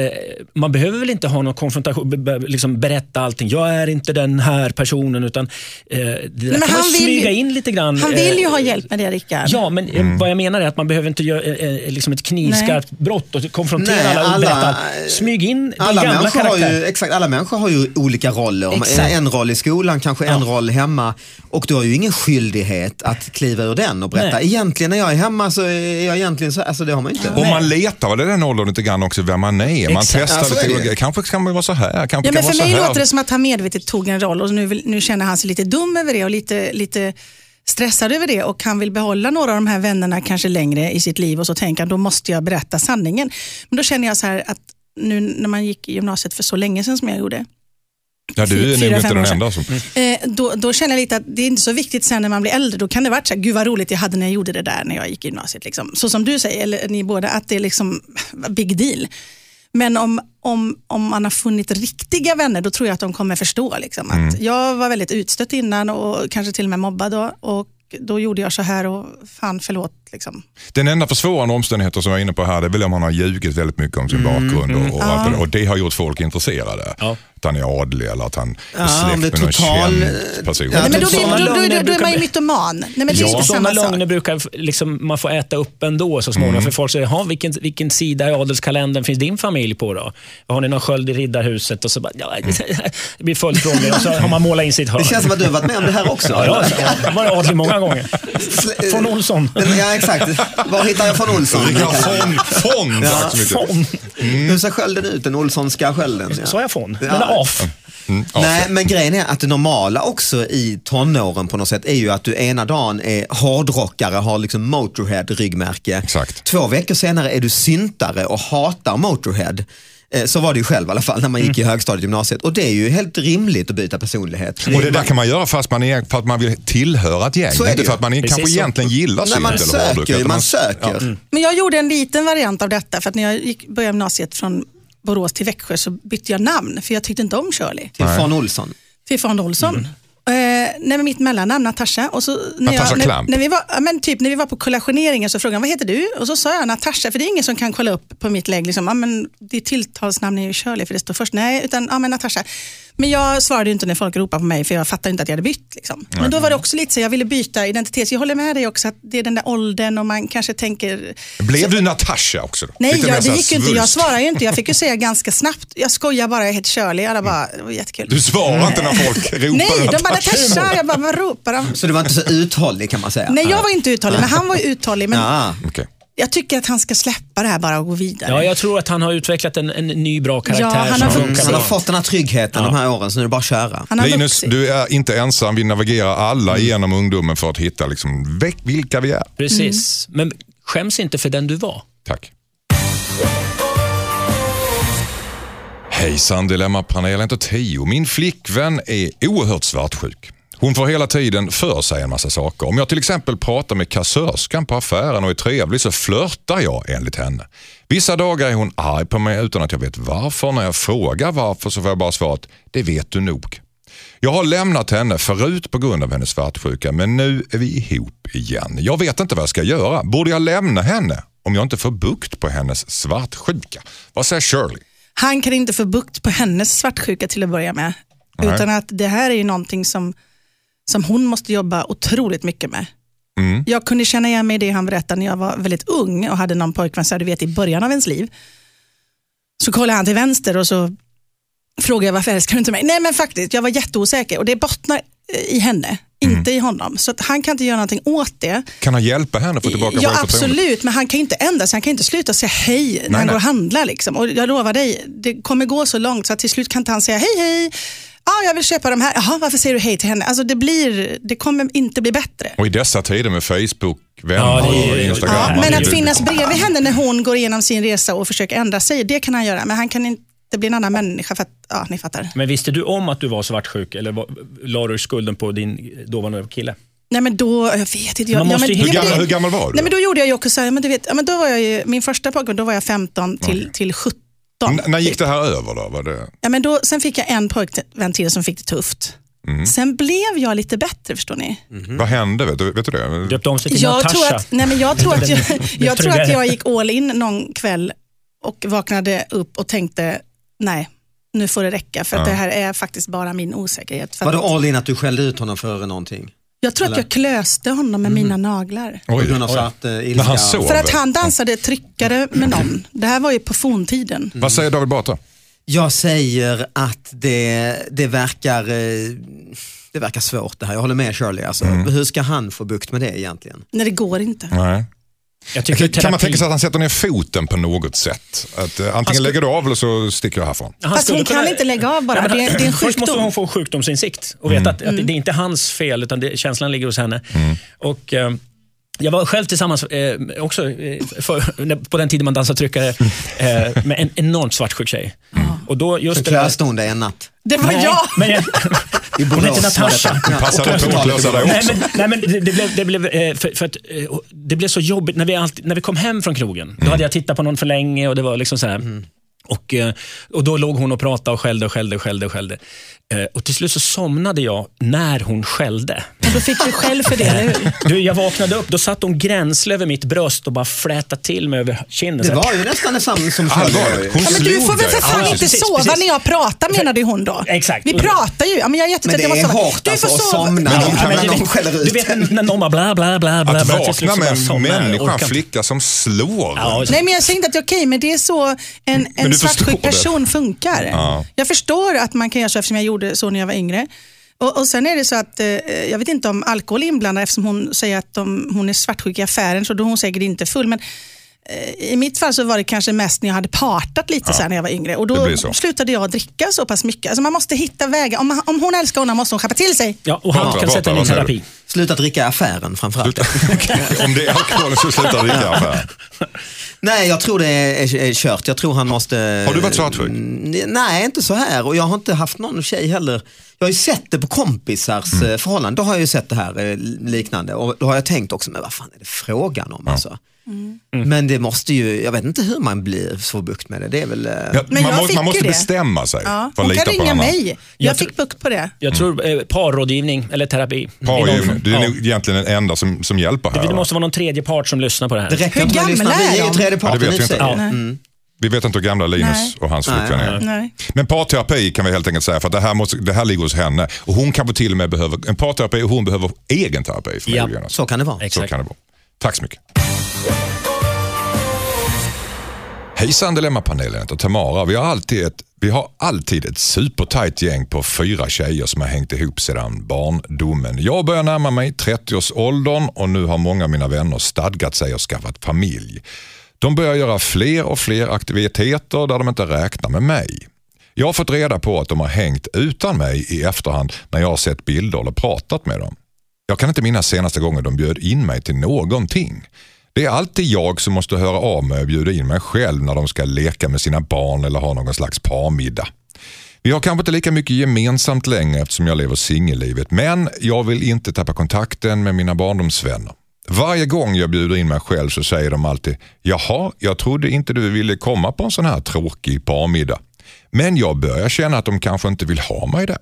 man behöver väl inte ha någon konfrontation, be, be, liksom berätta allting. Jag är inte den här personen. Utan, eh, det där kan
men
man
han vill
smyga
ju-
in lite grann.
Han vill ju
eh,
ha hjälp med det Rickard.
Ja, men eh,
Mm.
vad jag menar är att man behöver inte göra eh, eh, liksom ett knivskarpt brott och konfrontera
Nej,
alla och
alla-
berätta allt. Smyg in
Alla
din gamla
människor, har
karaktär.
ju, exakt, alla människor har ju olika roller. Om
Exakt.
En roll i skolan, kanske en roll hemma. Och du har ju ingen skyldighet att kliva ur den och berätta.
Nej.
Egentligen när jag är hemma så är jag egentligen så, alltså det har man ju inte.
Och man letar väl i den åldern lite grann också vem man är. Man
Exakt.
testar
Ja, så är
lite
det ju.
olika. Kanske kan man vara så här, kanske
Ja,
kan
men för
vara
mig
så här.
låter det som att han medvetet tog en roll och nu, vill, nu känner han sig lite dum över det och lite, lite stressad över det och han vill behålla några av de här vännerna kanske längre i sitt liv och så tänker han då måste jag berätta sanningen. Men då känner jag så här att nu när man gick i gymnasiet för så länge sedan som jag gjorde,
Ja, du är
fyra,
nog inte
fem
den
år sedan.
enda som...
Eh, då, då känner jag lite att det är inte så viktigt sen när man blir äldre. Då kan det vara så här, gud vad roligt jag hade när jag gjorde det där när jag gick i gymnasiet. Liksom. Så som du säger, eller ni båda, att det är liksom big deal. Men om, om, om man har funnit riktiga vänner, då tror jag att de kommer förstå. Liksom, att Jag var väldigt utstött innan och kanske till och med mobbad. Då, och då gjorde jag så här och fan förlåt. Liksom.
Den enda försvårande omständigheten som jag är inne på här det är väl om han har ljugit väldigt mycket om sin bakgrund och, och, allt det där. och det har gjort folk intresserade.
Ja,
Att han är adlig eller att han är
Ja,
släkt
om det är
med någon
total-
känd person.
Ja,
Nej, men då,
sådana
blir, då, då,
typ lögner
då, då är
brukar
man ju
bli-
mytoman. Nej, men det är
Ja.
inte
Sådana
samma sak.
lögner brukar f- liksom, man få äta upp ändå så småningom.
Mm.
För folk säger, "Jaha, vilken, vilken sida i adelskalendern finns din familj på då? Har ni någon sköld i riddarhuset? Och så bara, ja, det blir följdfrågor och så har man målat in sitt hörn.
Mm. Det känns som att du har varit med om det här också.
Ja, ja, jag har varit adlig många gånger. Von Olsson.
Ja exakt, var hittar jag från Olsson?
Rickard Fond, Fond tack så mycket.
Von.
Hur ser skölden ut, den Olssonska skölden? ja.
Sa jag von?
Ja.
Men af.
Mm, ja,
Nej, men grejen är att det normala också i tonåren på något sätt är ju att du ena dagen är hårdrockare, har liksom Motorhead-ryggmärke.
Exakt.
Två veckor senare är du syntare och hatar Motorhead. Eh, Så var det ju själv i alla fall när man
Mm.
gick i högstadiet gymnasiet. Och det är ju helt rimligt att byta personlighet.
Och det där kan man göra fast man är, för att man vill tillhöra ett gäng.
Så är det
inte
ju.
för att man är,
Precis
kanske
så.
egentligen gillar
Nej,
synt
man
eller hårdrock.
söker ju,
utan
man söker.
Men jag gjorde en liten variant av detta för att när jag gick, började gymnasiet från Borås till Växjö så bytte jag namn för jag tyckte inte om Shirley.
Till Fan Olsson.
Till Fan Olsson.
Mm.
Eh, nej, men mitt mellannamn Natasha. Och så, när
Natasha
jag, när,
Klamp.
när vi var, ja, men typ, när vi var på kollationeringen så frågade han vad heter du? Och så sa jag Natasha, för det är ingen som kan kolla upp på mitt lägg. Liksom, ja, men ditt tilltalsnamn är ju Shirley, för det står först. Nej, utan ja, men Natasha. Men jag svarade ju inte när folk ropade på mig, för jag fattade inte att jag hade bytt. Liksom. Men då var det också lite så, jag ville byta identitet. Så jag håller med dig också, att det är den där åldern och man kanske tänker
Blev du Natasha också? Då?
Nej,
Lite mer
jag,
så
det
här
gick ju inte. Jag
svulst.
svarade ju inte. Jag fick ju säga ganska snabbt. Jag skojar bara, jag heter Shirley. Alla bara, det var jättekul.
Du svarar inte när folk ropar
Nej, de bara
Natasha.
Natasha. Jag bara, vad ropar de?
Så du var inte så uthållig kan man säga. Ah.
Nej, jag var inte uthållig, men han var ju uthållig. Men
Ja.
Okej.
jag tycker att han ska släppa det här bara och gå vidare.
Ja, jag tror att han har utvecklat en, en ny bra karaktär.
Ja, han har
som
fått-
Mm.
funkar
Han har
bra.
fått den här tryggheten de här åren, så nu är det bara att köra.
Han har
Linus,
vuxit. Mm.
du är inte ensam. Vi navigerar alla genom ungdomen för att hitta liksom, ve- vilka vi är.
Precis,
Mm.
men skäms inte för den du var.
Tack. Hejsan Dilemmapanelen och Tio. Min flickvän är oerhört svartsjuk. Hon får hela tiden för sig en massa saker. Om jag till exempel pratar med kassörskan på affären och är trevlig så flörtar jag enligt henne. Vissa dagar är hon arg på mig utan att jag vet varför. När jag frågar varför så får jag bara svaret, det vet du nog. Jag har lämnat henne förut på grund av hennes svartsjuka men nu är vi ihop igen. Jag vet inte vad jag ska göra. Borde jag lämna henne om jag inte får bukt på hennes svartsjuka? Vad säger Shirley?
Han kan inte få bukt på hennes svartsjuka till att börja med.
Nej.
Utan att det här är ju någonting som, som hon måste jobba otroligt mycket med. Jag kunde känna igen mig i det han berättade när jag var väldigt ung och hade någon pojkvän, så här, du vet i början av ens liv. Så kollade han till vänster och så frågade jag varför älskar du inte mig? Nej men faktiskt, jag var jätteosäker och det bottnar eh, i henne, inte i honom. Så att han kan inte göra någonting åt det.
Kan han hjälpa henne att få tillbaka
Ja,
självförtroendet?
absolut, men han kan ju inte ändra sig. Han kan ju inte sluta säga hej när
Nej,
han
nej.
går och handlar. Liksom. Och jag lovar dig, det kommer gå så långt så att till slut kan inte han säga hej, hej. Ja, jag vill köpa de här. Jaha, varför säger du hej till henne? Alltså det, blir, det kommer inte bli bättre.
Och i dessa tider med Facebook,
Ja,
vänner
det är-
och Instagram.
Ja,
man
men
är
att
ju-
finnas bredvid henne när hon går igenom sin resa och försöker ändra sig, det kan han göra. Men han kan inte bli en annan människa för att, ja, ni fattar.
Men visste du om att du var svartsjuk eller var, la du skulden på din dåvarande kille?
Nej men då, jag vet inte. Jag,
Man
ja,
måste
men,
ju-
Hur,
Ja,
gammal,
det-
hur gammal var du?
Nej men då gjorde jag ju också så här, men du vet, ja, men då var jag ju, min första pojkvän, då var jag 15 till, till 17.
N- när gick det här över då? Var det...
Ja, men då, sen fick jag en pojkvän till som fick det tufft. Sen blev jag lite bättre förstår ni.
Vad hände? Vet du, vet du det?
Döpte om sig till
Jag
Mm. Natasha?
tror, att, nej men jag, tror att jag, jag tror att
tryggare.
jag gick all in någon kväll och vaknade upp och tänkte nej, nu får det räcka för att det här är faktiskt bara min osäkerhet. För
Var
att
det all in att du skällde ut honom för någonting?
jag tror att jag klöste honom med mina naglar.
På
Oj,
grund av svart eh, ilska?
han såg.
För att han dansade tryckare med någon. Det här var ju på forntiden.
Mm.
Vad säger David Batra?
Jag säger att det, det, verkar, eh, det verkar svårt det här. Jag håller med Shirley. Alltså. Hur ska han få bukt med det egentligen?
Nej, det går inte.
Nej.
jag tycker
Kan man
terapi-
tänka sig att han sätter ner foten på något sätt? Att, eh,
Alltså-
antingen lägger du av eller så sticker jag härifrån.
Han
Fast
skulle
hon kan
kunna-
inte lägga av bara.
Nej, men
Det är-
han-
det är en
Först måste
sjukdom. Mm.
hon få sjukdomsinsikt och veta att, att det är inte hans fel utan det, känslan ligger hos henne.
Mm.
Och, eh, jag var själv tillsammans, eh, också eh, för, när- på den tiden man dansade tryckare,
Mm.
eh, med en enormt svartsjuk tjej. Och då just
Så
det där-
klöste hon dig en natt.
Det var
Nej,
jag!
Men jag
I
hon
Borås.
heter Natasha.
Ja,
Passar
och
det på
klöste
att
honom.
klösa dig också?
Nej men, nej, men det, det, blev, det, blev, eh, för, för att, eh, det blev så jobbigt när vi, alltid, när vi kom hem från krogen.
Mm.
Då hade jag tittat på någon för länge och det var liksom så här.
Mm.
Och, eh, och då låg hon och pratade och skällde och skällde och skällde. Och, skällde. Eh, och till slut så somnade jag när hon skällde.
Och då fick du själv för det, eller hur?
Du, jag vaknade upp, då satt hon gränsle över mitt bröst och bara flätade till mig över kinden. så
Det
här.
var ju nästan detsamma som Shirley.
Allvarligt, hon
Ja, men du
slog
får väl
dig.
för fan
Ja,
inte
precis,
sova
precis.
när jag pratar menade ju hon då.
Exakt.
Vi pratar ju. Ja, men jag är jättetrött,
Men det
jag
är
måste sova.
hårt alltså att
sova.
somna.
Ja,
Någon
men
kan
du
väl
vet-
någon skäller ut
Du vet när någon bara bla bla bla. bla
Att
bla, till slut
vakna
så
med
bara
en
somnar jag,
människa,
liksom orkar
en
inte.
flicka som slår
Ja,
en.
just-
Nej, men jag säger inte att det är okej, men det är så en, en
du förstår
svartsjuk
det.
person funkar.
Ja.
Jag förstår att man kan göra så eftersom jag gjorde så när jag var yngre. Och, och sen är det så att, eh, jag vet inte om alkohol är inblandad eftersom hon säger att de, hon är svartsjuk i affären, så då är hon säkert inte full. Men eh, i mitt fall så var det kanske mest när jag hade partat lite så här när jag var yngre och
det
då
blir så.
slutade jag dricka så pass mycket. Alltså man måste hitta vägar. Om, man, om hon älskar honom måste hon skärpa till sig.
Ja, och han
Prata,
kan sätta
prata,
in i
vad säger du?
terapi.
Sluta dricka i affären framförallt.
Om det är alkoholen så slutar det inte affär.
Nej, jag tror det är, är, är kört. Jag tror han måste...
Har du varit svartsjuk?
Mm, Nej, inte så här. Och jag har inte haft någon tjej heller. Jag har ju sett det på kompisars eh, mm. förhållanden. Då har jag ju sett det här eh, liknande. Och då har jag tänkt också, men vad fan är det frågan om? Alltså? Men det måste ju, jag vet inte hur man blir så bukt med det. Det är väl... eh,
Ja,
Men
man,
jag
måste,
fick
man
ju
måste
det.
bestämma sig
Ja.
för att
Hon
lita
kan
på
ringa
någon annan.
mig. Jag,
Jag
fick bukt på det.
Jag tror eh, parrådgivning eller terapi. I någon
Pargivning,
form.
det är
Ja.
nog egentligen den enda som, som hjälper här.
Det
va?
måste vara någon tredje part som lyssnar på det här.
Det räcker
Hur
inte med att lyssna,
gamla
vi
är
är
de?
tredje
Ja, det
parten.
vet vi inte.
Ja.
Vi vet inte hur gamla Linus
Nej.
och hans
Nej,
flickvän är.
Nej.
Men parterapi kan vi helt enkelt säga för att det här, måste, det här ligger hos henne. Och hon kanske till och med behöver en parterapi och hon behöver egen terapi. förmodligen.
Ja.
Så,
Så kan det vara.
så
Exakt.
kan det vara. Tack så mycket. Hejsan Dilemmapanelen heter Tamara. Vi har alltid ett, vi har alltid ett supertajt gäng på fyra tjejer som har hängt ihop sedan barndomen. Jag börjar närma mig 30-årsåldern och nu har många av mina vänner stadgat sig och skaffat familj. De börjar göra fler och fler aktiviteter där de inte räknar med mig. Jag har fått reda på att de har hängt utan mig i efterhand när jag har sett bilder eller pratat med dem. Jag kan inte minnas senaste gången de bjöd in mig till någonting. Det är alltid jag som måste höra av mig och bjuda in mig själv när de ska leka med sina barn eller ha någon slags parmiddag. Vi har kanske inte lika mycket gemensamt längre eftersom jag lever singellivet men jag vill inte tappa kontakten med mina barndomsvänner. Varje gång jag bjuder in mig själv så säger de alltid “Jaha, jag trodde inte du ville komma på en sån här tråkig parmiddag”. Men jag börjar känna att de kanske inte vill ha mig där.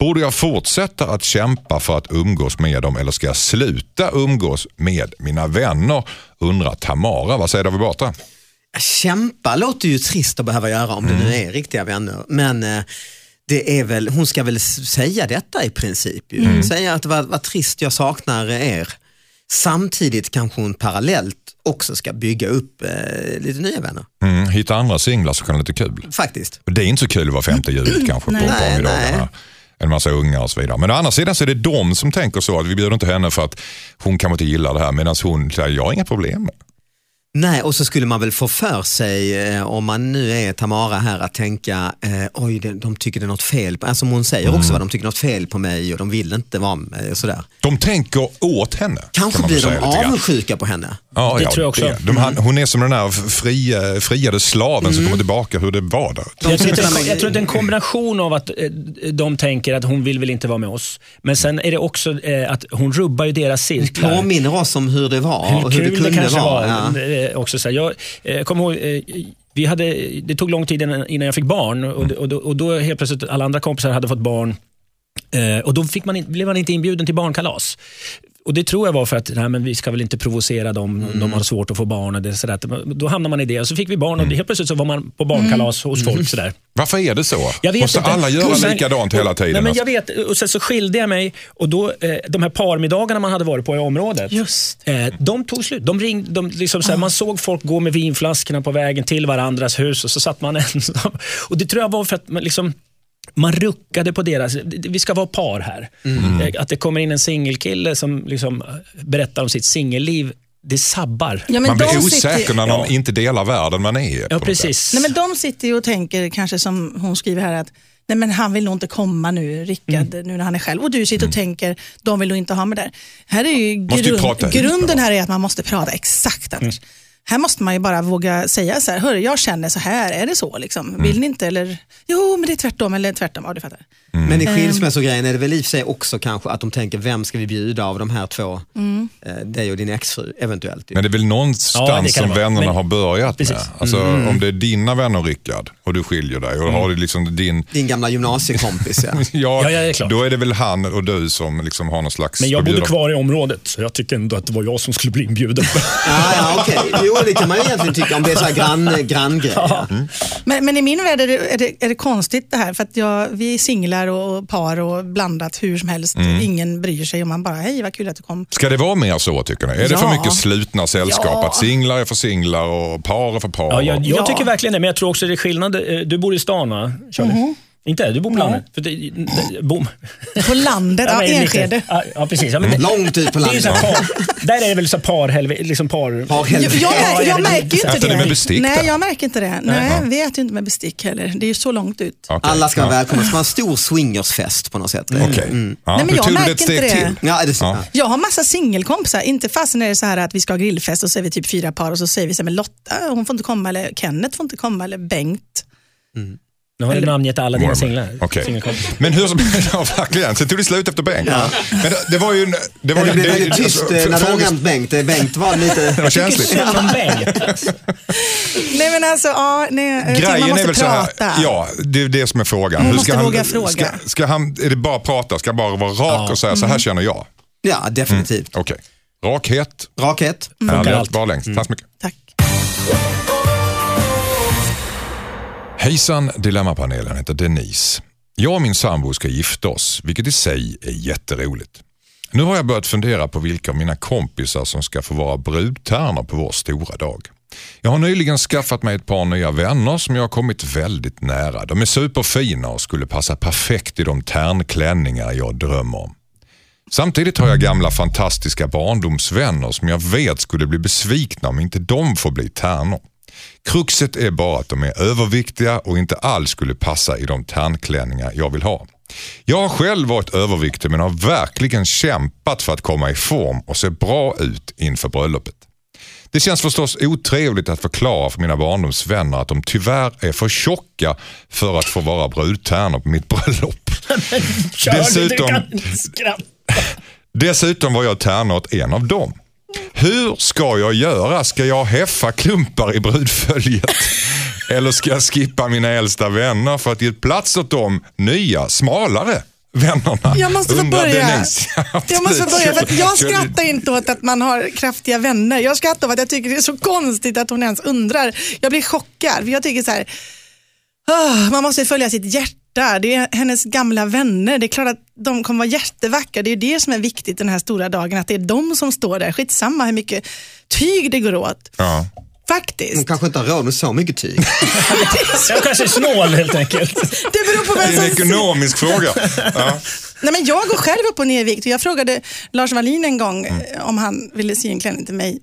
Borde jag fortsätta att kämpa för att umgås med dem eller ska jag sluta umgås med mina vänner? Undrar Tamara. Vad säger David Batra?
Kämpa låter ju trist att behöva göra om det
Mm.
nu är riktiga vänner. Men eh, det är väl, hon ska väl s- säga detta i princip. Ju.
Mm.
Säga att vad, vad trist jag saknar er. Samtidigt kanske hon parallellt också ska bygga upp eh, lite nya vänner.
Mm, hitta andra singlar så kan det vara lite kul.
Faktiskt.
Det är inte så kul att vara femte hjulet kanske på
Nej,
förmiddagarna.
nej.
En massa unga och så vidare. Men å andra sidan så är det de som tänker så att vi bjuder inte henne för att hon kanske inte gillar det här medan hon säger jag har inga problem med det."
Nej, och så skulle man väl få för sig, eh, om man nu är Tamara här, att tänka, eh, oj, de, de tycker det är något fel på, alltså som hon säger
Mm.
också, va, de tycker något fel på mig och de vill inte vara med, sådär.
De tänker åt henne.
Kanske
kan man väl
blir
säga
de
lite grann.
avundsjuka på henne.
Ja,
Det
ja,
tror jag också. Mm.
det. De, han, hon är som den där fria, friade slaven
Mm.
som kommer tillbaka hur det var där.
Jag tror,
tittar
att
man-
det, jag tror att det är en kombination av att eh, de tänker att hon vill väl inte vara med oss. Men sen är det också eh, att hon rubbar ju deras cirklar.
påminner oss om hur det var
Hur
och hur
kul
det
det,
kunde
kanske var.
vara. Ja.
eh, Också så här, jag eh, kommer ihåg, eh, vi hade, det tog lång tid innan innan jag fick barn och, och, då, och då helt plötsligt alla andra kompisar hade fått barn. Eh, och då fick man, in- blev man inte inbjuden till barnkalas. Och Det tror jag var för att nej, men vi ska väl inte provocera dem,
Mm.
de har svårt att få barn. Och det, sådär. Då hamnar man i det och så fick vi barn och
Mm.
helt plötsligt så var man på barnkalas hos folk. Sådär.
Varför är det så?
Jag vet
Måste
inte.
alla göra
Och sen-
likadant hela tiden? alltså?
Nej, men jag vet, och sen så skilde jag mig och då, eh, de här parmiddagarna man hade varit på i området,
Just
eh, de tog slut. De ringde, de liksom, såhär, Man såg folk gå med vinflaskorna på vägen till varandras hus och så satt man ensam. Och det tror jag var för att man, liksom, man ruckade på deras, vi ska vara par här.
Mm.
Eh, Att det kommer in en singelkille som liksom berättar om sitt singelliv, det sabbar.
Ja, men
man blir
de
osäker
sitter-
när någon
Ja.
inte delar världen man är i. på
Ja,
något sätt.
precis.
Nej, men de sitter ju och tänker, kanske som hon skriver här, att nej, men han vill nog inte komma nu, Rickard,
Mm.
nu när han är själv. Och du sitter och tänker, de vill nog inte ha mig där. Här är ju
Måste ju prata
grund,
ut med
grunden
dem. Mm.
här är att man måste prata exakt annars. Här måste man ju bara våga säga så här, hörru, jag känner så här, är det så? Liksom?
Mm.
Vill ni inte? Eller, jo, men det är tvärtom, eller tvärtom, ja du fattar.
Men i skilsmässogrejen är det väl i och för sig också kanske att de tänker, vem ska vi bjuda av de här två? Eh, dig och din exfru eventuellt. ju.
Men det är väl någonstans
Ja, det kan
som
det vara.
vännerna
Men-
har börjat
Precis. Mm.
med. Alltså, Om det är dina vänner Rickard och du skiljer dig och har det liksom din...
Din gamla gymnasiekompis ja.
Ja,
Ja, ja, det är klart.
då är det väl han och du som liksom har någon slags...
Men jag
då blir
bodde
de-
kvar i området, så jag tycker ändå att det var jag som skulle bli inbjuden.
Ja, ja okej. Jo, det kan man ju egentligen tycka om det är så här grann, granngrej. Ja.
Men, men i min värld är det, är, det, är det konstigt det här, för att jag, vi är singlar och och par och blandat hur som helst.
Mm.
Ingen bryr sig och man bara, hej vad kul att du kom.
Ska det vara mer så tycker ni? Är det för
Ja.
mycket slutna sällskap?
Ja.
Att singlar är för singlar och par är för par?
Ja, jag, jag
Ja.
tycker verkligen det, men jag tror också det är skillnad. Eh, Du bor i stan va, Charlie?
Mhm.
Inte? Du bor på landet? För det, det, bom.
På landet, ja,
men lite-
Enskede.
Ja, ja, precis. Ja, men det,
Mm. Långt ut på
det är ju så
landet.
här par, där är det väl så här par, helv- liksom par...
Par
Jag, jag,
helvete.
mär- jag märker ju
Äter
inte
ni
det.
med bestick där?
Nej, jag märker inte det. Nej, vi äter ju inte med bestick heller. Det är ju så långt ut.
Okej.
Alla ska
Ja.
vara välkomna, det ska vara en stor swingersfest på något sätt. Mm.
Okej. Ja,
Nej, men
nu
jag
tog du
märker
ett steg
inte det.
till.
Ja, det är så.
Ja.
Ja.
Jag har massa singelkompisar. Inte fasen är det så här att vi ska ha grillfest och så är vi typ fyra par och så säger vi så här, men Lotta, hon får inte komma eller Kenneth får inte komma eller Bengt.
Nu har du namngett alla dina singlar.
Okej.
Singelkompisar.
Men hur som helst, ja, verkligen. Sen tog det slut efter Bengt. Men det, det var ju... en- Det var
Det
ju
blev väldigt
alltså,
tyst eh,
fr-
när du
fråges-
nämnt Bengt. Eh, Bengt var
Det
lite...
var känsligt.
Synd om Bengt.
Nej men alltså, ja, nej, jag tycker man
Grejen är
måste
väl så här,
prata.
ja, det är det som är frågan.
Man
Hur
måste våga fråga. Mm.
Ska, ska han, är det bara att prata? Ska han bara vara rak och säga, så här känner jag?
Ja, definitivt.
Okej. Rakhet,
Rakhet.
ärlighet,
allt.
bara längst. Tack så mycket.
Tack.
Hejsan, Dilemmapanelen heter Denise. Jag och min sambo ska gifta oss, vilket i sig är jätteroligt. Nu har jag börjat fundera på vilka av mina kompisar som ska få vara brudtärnor på vår stora dag. Jag har nyligen skaffat mig ett par nya vänner som jag har kommit väldigt nära. De är superfina och skulle passa perfekt i de tärnklänningar jag drömmer om. Samtidigt har jag gamla fantastiska barndomsvänner som jag vet skulle bli besvikna om inte de får bli tärnor. Kruxet är bara att de är överviktiga och inte alls skulle passa i de tärnklänningar jag vill ha. Jag har själv varit överviktig men har verkligen kämpat för att komma i form och se bra ut inför bröllopet. Det känns förstås otrevligt att förklara för mina barndomsvänner att de tyvärr är för tjocka för att få vara brudtärnor på mitt bröllop.
Kör lite,
Dessutom-
du kan inte skratta.
Dessutom var jag tärna åt en av dem. Hur ska jag göra? Ska jag häffa klumpar i brudföljet? Eller ska jag skippa mina äldsta vänner för att ge plats åt de nya, smalare vännerna?
Jag måste få
Undrar
börja.
Denise. Ja,
Jag måste få börja. För att jag
Kör-
skrattar inte åt att man har kraftiga vänner. Jag skrattar åt att jag tycker det är så konstigt att hon ens undrar. Jag blir chockad. För jag tycker så här, "Åh, man måste följa sitt hjärta. Det är hennes gamla vänner. Det är klart att de kommer vara jättevackra. Det är ju det som är viktigt den här stora dagen. Att det är de som står där. Skitsamma hur mycket tyg det går åt.
Ja.
Hon
Faktiskt.
kanske inte har råd med så mycket tyg.
Jag kanske är snål helt enkelt.
Det beror på
Det
vem
är en
som
ekonomisk fråga. Ja.
Nej, men jag går själv upp och ner i vikt och jag frågade Lars Wallin en gång
Mm.
eh, om han ville sy en klänning till mig.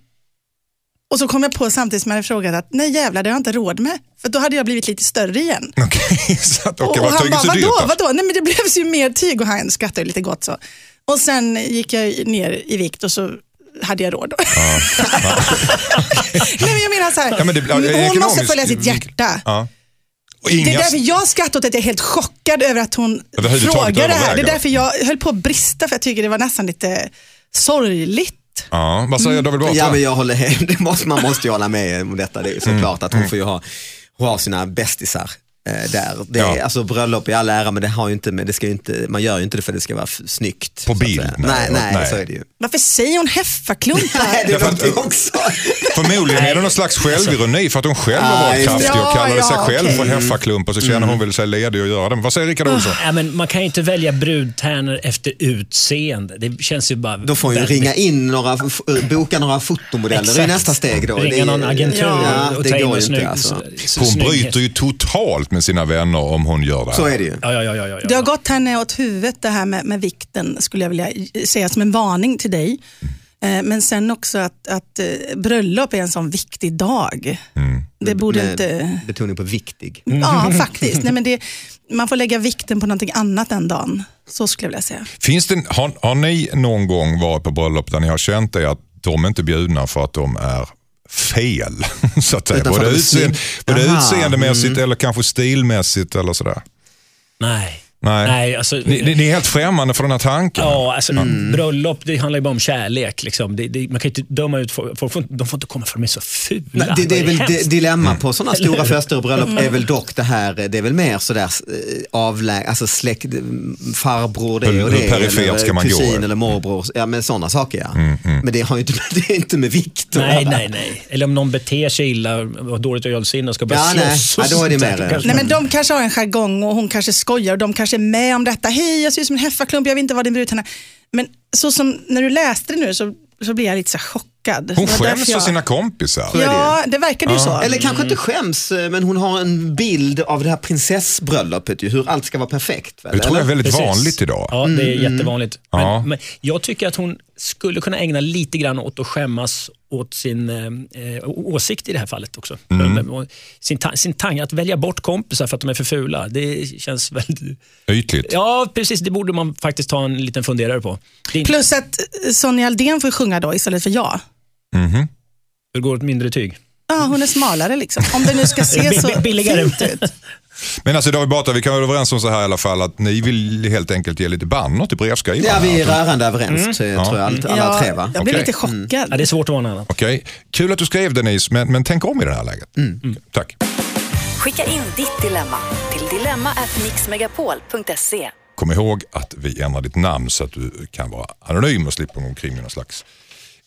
Och så kom jag på samtidigt som jag hade frågat att nej jävlar, det har jag inte råd med. För då hade jag blivit lite större igen.
Okej, så att,
och
okej,
och
vad
han
tyget
bara,
så dyrt?
vadå,
då?
vadå? Nej men det blev ju mer tyg och han skrattade lite gott så. Och sen gick jag ner i vikt och så hade jag råd. nej men jag menar så här,
Ja, men det- ja, det är
hon måste
ekonomiskt-
följa sitt hjärta.
Ja. Och
Det är
inga,
därför jag skrattar åt att jag är helt chockad över att hon
Överhuvudtaget
frågar det här. Det är
överväger.
därför jag höll på att brista för jag tycker det var nästan lite sorgligt.
ja, vad
Mm.
säger David Batra?
Ja, men jag håller helt- det måste, man måste ju hålla med om detta. Det är ju
Mm.
såklart att hon får ju ha, hon har sina bästisar. eh, Där. Det är,
Ja.
alltså, bröllop i all ära men det har ju inte, men det ska ju inte, man gör ju inte det för att det ska vara f- snyggt.
På
så att
bild,
säga.
nej.
Nej, nej,
Nej.
så är det ju.
Varför säger hon
Nej,
heffaklumpar?
det
Därför
var
att-
inte också.
Förmodligen är det någon slags självironi för att hon själv har
Ja,
varit
just det.
kraftig och kallade
Ja,
sig
ja,
själv
okej.
för heffaklump och så känner hon väl sig ledig och göra det. Men Vad säger Rickard Olsson?
Ja, men man kan ju inte välja brudtärnor efter utseende. Det känns ju bara...
Då får hon ju
väldigt-
ringa in några, f- boka några fotomodeller, det är ju
Exakt.
nästa steg då. Det
Ringa
är-
någon agentur
ja,
och
det
ta in
går
en
ju
snygg...
inte alltså.
s-
Hon
snygghet.
bryter ju totalt med sina vänner om hon gör det här.
Så är det ju.
Ja, ja, ja, ja, ja, ja.
Det har gått henne åt huvudet det här med, med vikten skulle jag vilja säga som en varning till dig. Eh, Men sen också att, att eh, bröllop är en sån viktig dag. Det borde
Med
inte...
Betoning på viktig.
Ja, faktiskt. Nej, men det, man får lägga vikten på någonting annat den dagen. Så skulle jag vilja säga.
Finns det, har, har ni någon gång varit på bröllop där ni har känt er att de är inte bjudna för att de är fel? Så att säga.
Utan för
Både,
att de är
utseende,
snygga.
både
Aha,
utseendemässigt eller kanske stilmässigt eller sådär.
Nej.
Nej.
Nej, alltså...
Ni, ni, ni är helt främmande för den här tanken.
Ja, alltså,
Mm.
bröllop det handlar ju bara om kärlek. Liksom. Det, det, man kan ju inte döma ut folk. folk får, inte- de får inte komma för de är så fula.
Nej, det, det är Mm.
Vad
väl di-
hemskt.
dilemma på sådana stora fester och bröllop är väl dock det här, eh, det är väl mer sådär eh, avlä, alltså släkt, mm, farbror det
Hur-
och
hur
det.
perifert
eller
ska man gå?
kusin eller morbror, ja men sådana saker ja. Men det, har ju inte, det är inte med vikt att
Nej,
göra.
nej, nej. Eller om någon beter sig illa, har dåligt ölsinne och ska börja
Ja, nej.
slåss. och
Ja, då är det
sånt där.
mer-
Kanske-
Nej, men de kanske har en jargong och hon kanske skojar och de kanske är med om detta. Hej, jag ser ut som en heffaklump, jag vill inte vara din brudtärna. Men så som när du läste det nu så, så blir jag lite så här chockad.
Hon
Det var därför
skäms för
jag-
sina kompisar.
är det ju.
Ja, det verkade ju så.
Eller kanske inte skäms, eh, men hon har en bild av det här prinsessbröllopet ju, hur allt ska vara perfekt. Väl,
Det tror jag är väldigt
Precis.
vanligt idag.
Ja, det är jättevanligt. Men,
Ja.
men jag tycker att hon skulle kunna ägna lite grann åt att skämmas åt sin eh, å- åsikt i det här fallet också.
Mm.
Men- och Sin, ta- sin tang, att välja bort kompisar för att de är för fula, det känns väldigt...
Ytligt.
Ja, precis. Det borde man faktiskt ta en liten funderare på. Det är inte,
Plus att eh, Sonja Aldén får sjunga då istället för jag.
det går åt mindre tyg.
Ja, hon är smalare liksom. Om det nu ska se
Bi-
så
bi- billigare.
fint ut.
Men alltså David Batra, vi kan vara överens om så här i alla fall att ni vill helt enkelt ge lite banner till brevskrivaren.
Ja, Mm. vi är
här.
rörande överens
Ja.
tror jag, allt- alla tre va?
jag blev
Okej.
lite chockad.
Mm. Ja, det är svårt att vara något annat.
Okej, kul att du skrev Denise, men, men tänk om i det här läget.
Mm.
Tack.
Skicka in ditt dilemma till dilemma@mixmegapol.se.
Kom ihåg att vi ändrar ditt namn så att du kan vara anonym och slippa gå omkring med någon slags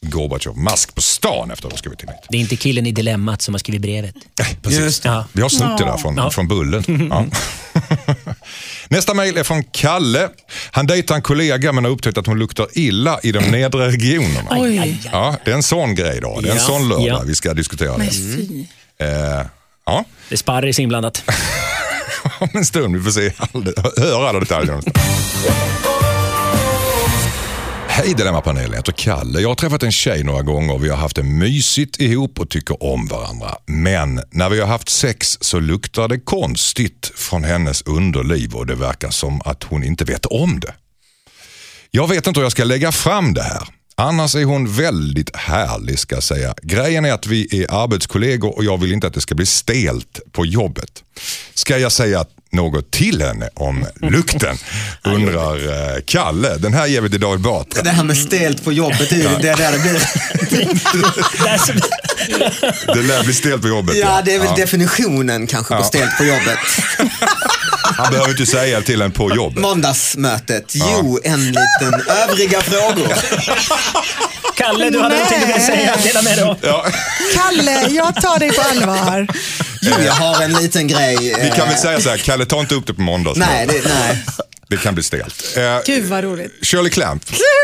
Gorbatjov-mask på stan efter att du skrivit in hit.
Det är inte killen i dilemmat som har skrivit brevet.
Nej, precis.
Just det.
Vi har snott det där från, från Bullen. Ja. Nästa mejl är från Kalle. Han dejtar en kollega men har upptäckt att hon luktar illa i de nedre regionerna.
Oj.
Ja, det är en sån grej idag. Det är en
Ja.
sån lördag
Ja.
vi ska diskutera.
Nej,
Det.
fy.
Eh, ja,
Det är sparris inblandat.
om en stund. Vi får se all, höra alla detaljer. om en stund. Hej Dilemmapanelen, jag heter Kalle. Jag har träffat en tjej några gånger. Vi har haft det mysigt ihop och tycker om varandra. Men när vi har haft sex så luktar det konstigt från hennes underliv och det verkar som att hon inte vet om det. Jag vet inte hur jag ska lägga fram det här. Annars är hon väldigt härlig ska jag säga. Grejen är att vi är arbetskollegor och jag vill inte att det ska bli stelt på jobbet. Ska jag säga något till henne om lukten? Undrar eh, Kalle. Den här ger vi till David Batra.
Det här med stelt på jobbet, det är ju det där det blir.
Det lär bli stelt på jobbet.
Ja, det är väl definitionen kanske på stelt på jobbet.
Han behöver inte säga till en på jobbet.
Måndagsmötet, jo, en liten övriga frågor.
Kalle, du hade någonting att säga. Dela med dig av.
Ja,
Kalle, jag tar dig på allvar.
Jo, jag har en liten grej. eh,
vi kan väl säga så här, Kalle ta inte upp det på måndag.
Nej, det, nej.
det kan bli stelt. Eh,
Gud vad roligt.
Shirley Clamp,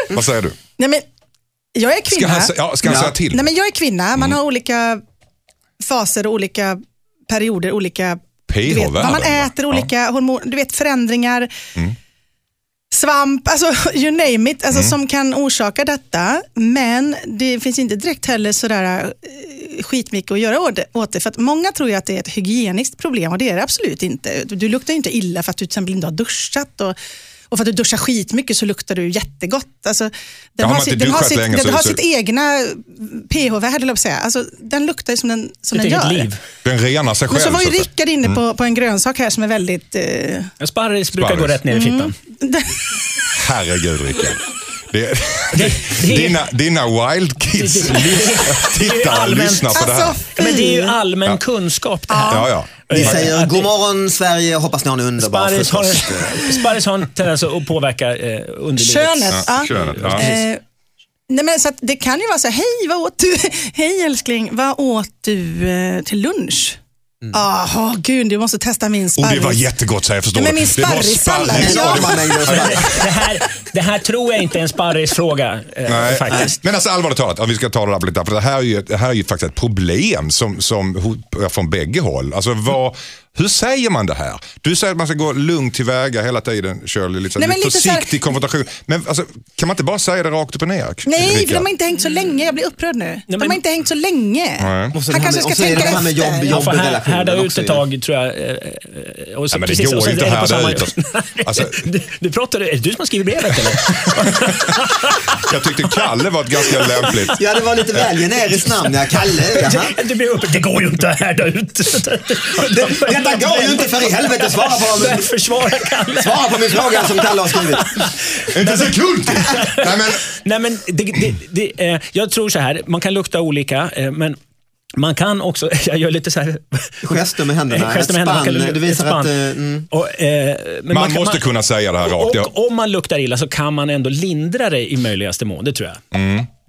vad säger du?
Nej, men, jag är
Ska
kvinna.
han, sä- ja, ska han
Ja.
säga till? Mm.
Nej, men jag är kvinna, man har olika faser och olika perioder, olika du vet, vad
PH-värden,
man äter,
va?
olika hormon, du vet förändringar,
Mm.
svamp, alltså you name it, alltså, som kan orsaka detta. Men det finns inte direkt heller sådär eh, skitmycket att göra åt det- åt det. För att många tror ju att det är ett hygieniskt problem och det är det absolut inte. Du luktar ju inte illa för att du till exempel inte har duschat. Och, och för att du duschar skitmycket så luktar du jättegott. Alltså,
har
den har,
man
sitt,
inte
den har,
duschat
sitt,
länge så-
den har
så-
sitt egna pH-värde, höll jag på att säga. Alltså, den luktar ju som den, som
Ditt
den gör.
eget liv.
Den renar sig själv.
Men så var ju
så att säga.
Rickard inne på, på en grönsak här som är väldigt... Eh,
En Sparris brukar
Sparris.
gå rätt ner i fittan.
Herregud Rickard. Det,
Det- det är-
dina, dina wild kids
Det- det- det är
tittar och
allmänt-
lyssnar på det här.
alltså, fy.
Men det är ju allmän kunskap det här.
Ja, ja.
Vi
Eh,
säger
att det-
god morgon Sverige, hoppas ni har en underbar
Sparris har,
frukost.
sparris har en tendens att påverka eh, underlivet.
Könet.
Ja,
Ja.
könet, ja.
Eh, nej men så att det kan ju vara så här, hej vad åt du? Hej älskling, vad åt du eh, till lunch? Jaha, gud du måste testa min
Och
sparris.
Mm. Oh, det var jättegott så jag förstår.
Nej, men min
det var
sparrissallad.
sparris.
En
Ja.
ormar och
Det, det, här, det här tror jag inte är en sparrisfråga eh,
Nej.
faktiskt.
Men alltså allvarligt talat, ja, vi ska ta det där lite, för det här är ju, det här är ju faktiskt ett problem som, som hotar från bägge håll. Alltså, vad, hur säger man det här? Du säger att man ska gå lugnt tillväga hela tiden, Shirley, lite, så-
Nej, men
lite
lite så här-
försiktig konfrontation. Men alltså, kan man inte bara säga det rakt upp och ner?
Nej, för
Rickard?
de har inte hängt så länge. Jag blir upprörd nu. de
men-
har inte hängt så länge.
Och så det
Han
här med-
kanske ska
och så är det
tänka
det här
efter.
med jobb-
Man
jobb-
får här-
Jobbrelationen
härda ut
också
ett
ju.
tag tror jag. eh, eh, Och så,
Nej, men det
precis,
går
och sen
inte
är det på
att härda
samma-
ut oss. Alltså-
du, du pratar, är det du som har skrivit brevet eller?
Jag tyckte Kalle var ett ganska lämpligt...
Ja, det var lite väl generiskt namn. Ja, Kalle, jaha.
Du blir uppe, det går ju inte att härda ut.
Det, detta går ju inte för i helvete, svara på, dem.
Där försvarar Kalle.
svara på min fråga som Kalle har skrivit.
Inte en sekund till! Nej, men,
Nej, men det, det, det, eh, jag tror så här, man kan lukta olika, eh, men man kan också, jag gör lite så här...
Gester med händerna,
Gester med
ett
händerna, man
spann.
kan lu-
Det visar
ett spann.
att... eh, mm.
Och, eh, men
man,
kan-
måste kunna säga det här rakt. Jag,
Och om man luktar illa så kan man ändå lindra det i möjligaste mån, det tror jag.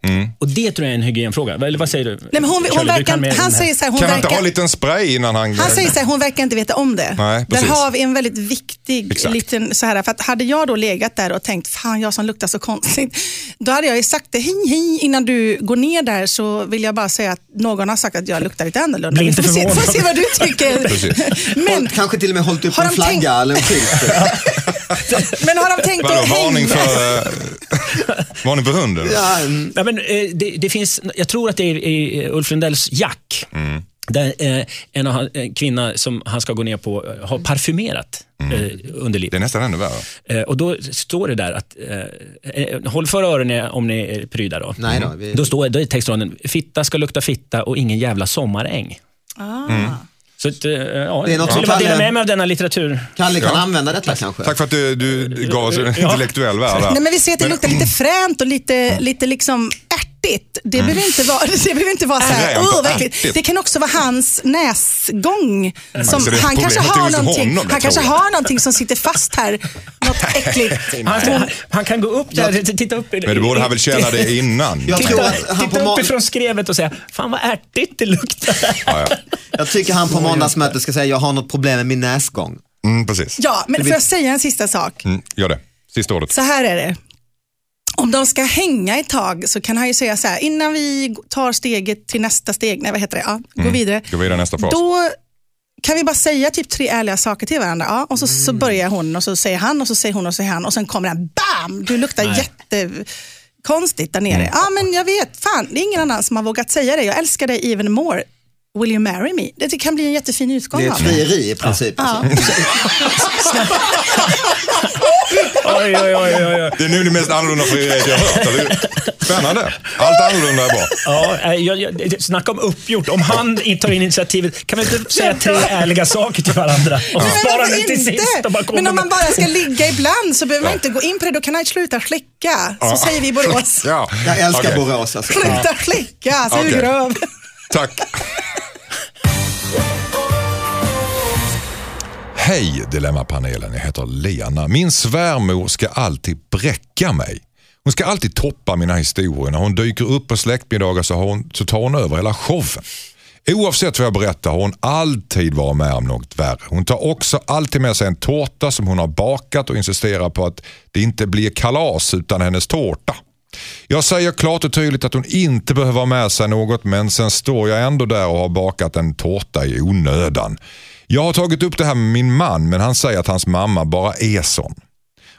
Mm,
Och det tror jag är en hygienfråga. Eller vad säger du?
Nej, men hon,
Shirley,
hon
du kan mer
verkar,
om
han
det här.
säger så här, hon
kan han inte
verkar...
ha en liten spray innan han...
Han säger så här, hon verkar inte veta om det.
Nej,
där
precis.
har vi en väldigt viktig
Exakt.
liten så här, för att hade jag då legat där och tänkt, fan jag som luktar så konstigt, då hade jag ju sagt det, hej hej, innan du går ner där så vill jag bara säga att någon har sagt att jag luktar lite annorlunda.
Bli
Vi
inte
får se,
förvånad.
får se vad du tycker.
Precis.
men,
Och kanske till och med hållit upp
Har
en
de
flagga
tänkt-
eller en skylt.
men har de tänkt
Vadå,
att
varning
hej?
för, eh, varning för hunden?
Ja, mm.
Nej, men, eh, det, det finns, jag tror att det är i eh, Ulf Lundells Jack.
Mm.
Där eh, en, av han- en kvinna som han ska gå ner på eh, har parfymerat eh,
Det är
underlivet.
nästan ännu värre.
Eh, och då står det där att, eh, eh, håll för öronen om ni är pryda då.
Nej då, vi-
Mm.
Då står då är textraden, fitta ska lukta fitta och ingen jävla sommaräng.
Ah.
Så att, eh, ja,
Det är något
jag
som
ville bara dela
Kalle-
med mig av denna litteratur.
Kalle kan
Ja.
använda detta kanske?
Tack för att du, du gav oss en intellektuell värld här.
Nej, men vi ser att det luktar lite fränt och lite, lite liksom ärtigt. Det behöver inte vara, det behöver inte vara så här,
Mm. Fränt och
"Åh, vad äckligt."
ärtigt.
Det kan också vara hans näsgång. Som,
Alltså, det är
han kanske
problemet är
har
hos
någonting,
honom, det
han kanske
tror jag.
har någonting som sitter fast här. Något äckligt.
Han, han, han kan gå upp där, t- titta upp.
Men du borde han väl känna det innan?
Jag tror
Titta,
att han på
titta
mor-
uppifrån skrevet och säga, fan vad ärtigt det luktar.
Ja, ja.
Jag tycker han på måndagsmötet ska säga jag har något problem med min näsgång.
Mm, precis.
Ja, men får jag säga en sista sak?
Mm, gör det. Sista ordet.
Så här är det. Om de ska hänga ett tag så kan han ju säga så här, innan vi tar steget till nästa steg, nej vad heter det, ja, gå vidare.
Ska vi Mm. vidare nästa fas?
Då kan vi bara säga typ tre ärliga saker till varandra. Ja, och så, så
Mm.
börjar hon och så säger han och så säger hon och så säger han och sen kommer den BAM! Du luktar jättekonstigt där
Mm.
nere. Ja men jag vet, fan det är ingen annan som har vågat säga det. Jag älskar dig even more. Will you marry me? Det kan bli en jättefin utgång
Det är
av
ett frieri i princip. Alltså.
Oj, oj, oj, oj, oj.
Det är nu det mest annorlunda frieriet jag har hört. eller hur? Spännande. Allt annorlunda är bra.
Ja, eh, jag, jag, snacka om uppgjort. Om han inte tar initiativet, kan vi inte säga tre ärliga saker till varandra? Och så
Men
sparar
varför
den till
inte?
sist och bara kommer
Men om
med-
man bara ska ligga ibland så behöver man inte gå in på det. Då kan han sluta släcka. Så
Ja.
säger vi i Borås.
Ja.
Jag älskar
Okej.
Borås alltså.
Sluta släcka, så är du
Okej.
grov.
Tack. Hej Dilemmapanelen, jag heter Lena. Min svärmor ska alltid bräcka mig. Hon ska alltid toppa mina historier. När hon dyker upp på släktmiddagar så, har hon, så tar hon över hela showen. Oavsett vad jag berättar har hon alltid varit med om något värre. Hon tar också alltid med sig en tårta som hon har bakat och insisterar på att det inte blir kalas utan hennes tårta. Jag säger klart och tydligt att hon inte behöver ha med sig något men sen står jag ändå där och har bakat en tårta i onödan. Jag har tagit upp det här med min man men han säger att hans mamma bara är sån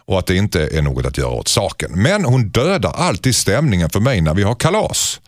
och att det inte är något att göra åt saken. Men hon dödar alltid stämningen för mig när vi har kalas.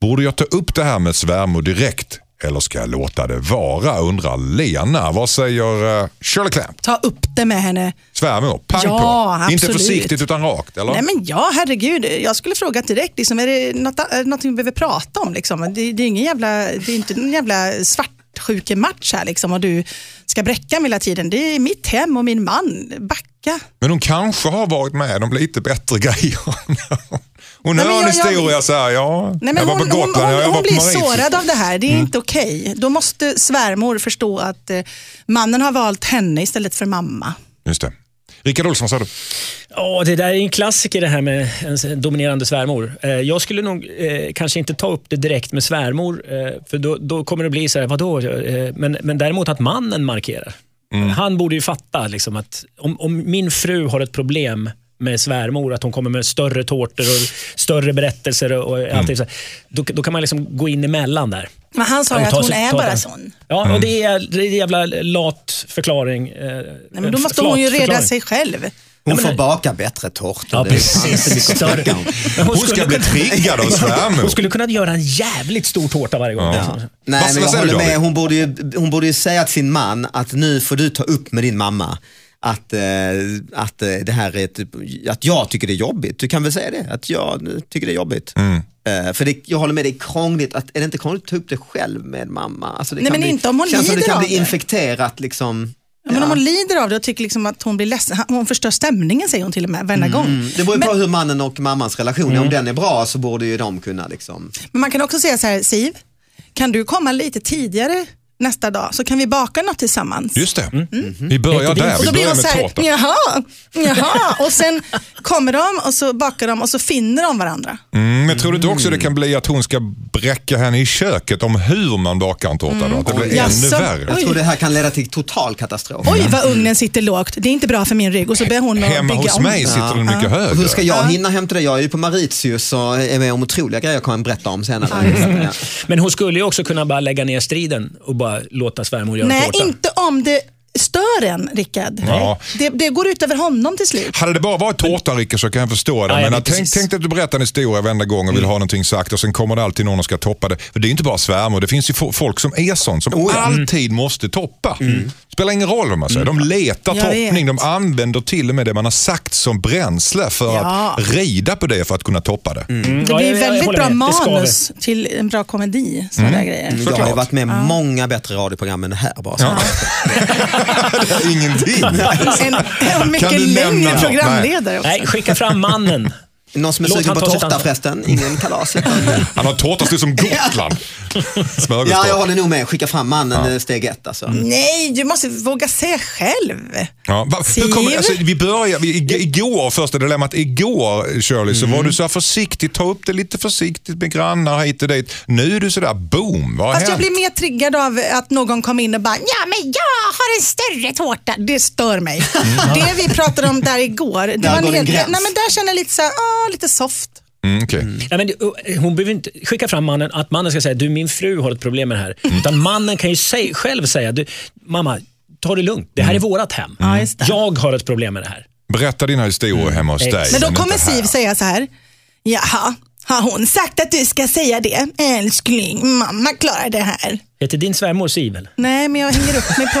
Borde jag ta upp det här med svärmor direkt eller ska jag låta det vara undrar Lena. Vad säger eh, Shirley Clamp?
Ta upp det med henne.
Svärmor, pang
Ja,
på. Inte
absolut.
försiktigt utan rakt eller?
Nej men ja, herregud. Jag skulle fråga direkt. Liksom, är det något, är det någonting vi behöver prata om? Liksom? Det, det, är ingen jävla, det är inte en jävla svartsjukematch här liksom, och du ska bräcka mig hela tiden. Det är mitt hem och min man. Backa.
Men hon kanske har varit med om lite bättre grejer. Hon
Nej, men
hör en
jag-
historia så här, ja,
Nej, men
jag var
hon,
på Gotland,
hon,
jag
hon,
var
hon
på Mm.
blir
Mauritius.
sårad av det här, det är inte okej. Då måste svärmor förstå att eh, mannen har valt henne istället för mamma.
Just det. Rickard Olsson sa du.
Ja, det där är en klassiker det här med en dominerande svärmor. Eh, Jag skulle nog eh, kanske inte ta upp det direkt med svärmor, eh, för då, då kommer det bli så här, vadå? Eh, men, men däremot att mannen markerar. Han borde ju fatta liksom, att om, om min fru har ett problem med svärmor, att hon kommer med större tårtor och större berättelser och, och allt det, så här, då, då kan man liksom gå in emellan där.
Men han sa ju
Ja,
att
ta
hon
sig-
är
ta
bara
den.
sån.
Ja, och det är, det är en jävla lat förklaring. eh,
Nej, men då
f-
måste
flat
hon ju reda
förklaring.
sig själv.
Hon får baka bättre tårtor.
Ja,
Det är fan
precis.
inte mycket att
Större.
snacka om.
Men
Hon ska
skulle
bli
kunna-
triggad av svärmor.
Hon skulle kunna göra en jävligt stor tårta varje gång.
Ja.
Nej,
Vad-
men
vad
jag
säger du,
håller med.
David?
Hon borde, ju, hon borde ju säga till sin man att nu får du ta upp med din mamma att, eh, att, eh, det här är typ, att jag tycker det är jobbigt. Du kan väl säga det? Att jag nu tycker det är jobbigt.
Mm.
Eh, för det, jag håller med, det är krångligt. Att, är det inte krångligt att ta upp det själv med mamma? Alltså det
Nej,
kan
men
bli,
inte om hon
känns som det
lider
kan
av
bli
det.
infekterat liksom.
Ja. Men om hon lider av det och tycker liksom att hon blir ledsen, hon förstör stämningen säger hon till och med varenda
Mm.
gång.
Det beror ju på hur mannen och mammans relation
Mm.
är. Om den är bra så borde ju de kunna liksom.
Men man kan också säga så här, Siv, kan du komma lite tidigare nästa dag så kan vi baka något tillsammans?
Just det.
Mm. Mm-hmm.
Vi börjar där.
Och
Vi
då blir
börjar
de så
med
här,
tårta.
jaha, jaha. Och sen kommer de och så bakar de och så finner de varandra.
Mm, men tror du inte också det kan bli att hon ska bräcka henne i köket om hur man bakar en tårta då? Att det blir
Oj.
ännu
Jaså.
värre.
Jag
Oj.
tror det här kan leda till total katastrof.
Oj vad ugnen sitter lågt, det är inte bra för min rygg. Och så börjar hon att
Mm. Hemma
bygga
hos
om.
mig sitter den mycket
Och
högre.
Hur ska jag hinna hämta det? Jag är ju på Mauritius och är med om otroliga grejer jag kommer berätta om senare. Ja.
Men hon skulle ju också kunna bara lägga ner striden och bara låta svärmor göra
Nej,
tårtan.
inte om det stör en Rickard.
Ja.
Det, det går ut över honom till slut.
Hade det bara varit tårtan Rickard så kan jag förstå det.
Ja,
men
ja, men
att tänk,
precis.
tänk dig att du berättar en historia varenda gång och vill ha någonting sagt och sen kommer det alltid någon och ska toppa det. För det är ju inte bara svärmor, det finns ju fo- folk som är sånt som alltid måste toppa. Spelar ingen roll vad man säger. De letar
Jag
toppning.
vet.
De använder till och med det man har sagt som bränsle för
Ja.
att rida på det för att kunna toppa det.
Det
Mm. Ja,
blir
jag- jag
väldigt
håller
bra
med. Det skaver.
manus till en bra komedi. Sådana
Mm.
där grejer.
Jag har ju
Såklart.
varit med i många bättre radioprogram än det här bara.
Ja. det är ingenting.
En, en
Kan
mycket
du nämna
längre
något?
programledare också.
Nej, skicka fram mannen.
Någon som är
Låt
sugen
han
på
ta sitt
tårta
ansvar.
förresten? Ingen kalas?
Han har tårta stor som Gotland. Smörgåstårta.
ja, jag håller nog med. Skicka fram mannen eh, steg ett alltså.
Nej, du måste våga se själv.
Ja, va, hur kommer,
Siv?
alltså, vi börjar, vi, ig- igår, första dilemmat, igår Shirley, så var
Mm.
du så här försiktig, ta upp det lite försiktigt med grannar hit och dit. Nu är du så där boom, vad har
Fast jag
hänt?
blir mer triggad av att någon kom in och bara “ja men jag har en större tårta”. Det stör mig.
Mm.
Det vi pratade om där igår, det var en
går en
hel, nej,
gräns.
men där känner jag lite så här, ah, lite soft.
Mm, okej.
Nej, men, det- hon behöver inte skicka fram mannen, att mannen ska säga du min fru har ett problem med det här. Utan mannen kan ju säg, själv säga, du, mamma ta det lugnt, det här är vårt hem.
just det.
Jag har ett problem med det här.
Berätta dina historier hemma hos dig.
Exakt.
Mm. Men då
inte
kommer
här.
Siv säga så här, “jaha, har hon sagt att du ska säga det? Älskling, mamma klarar det här”.
Heter din svärmor Sivel?
Nej, men jag hänger upp mig på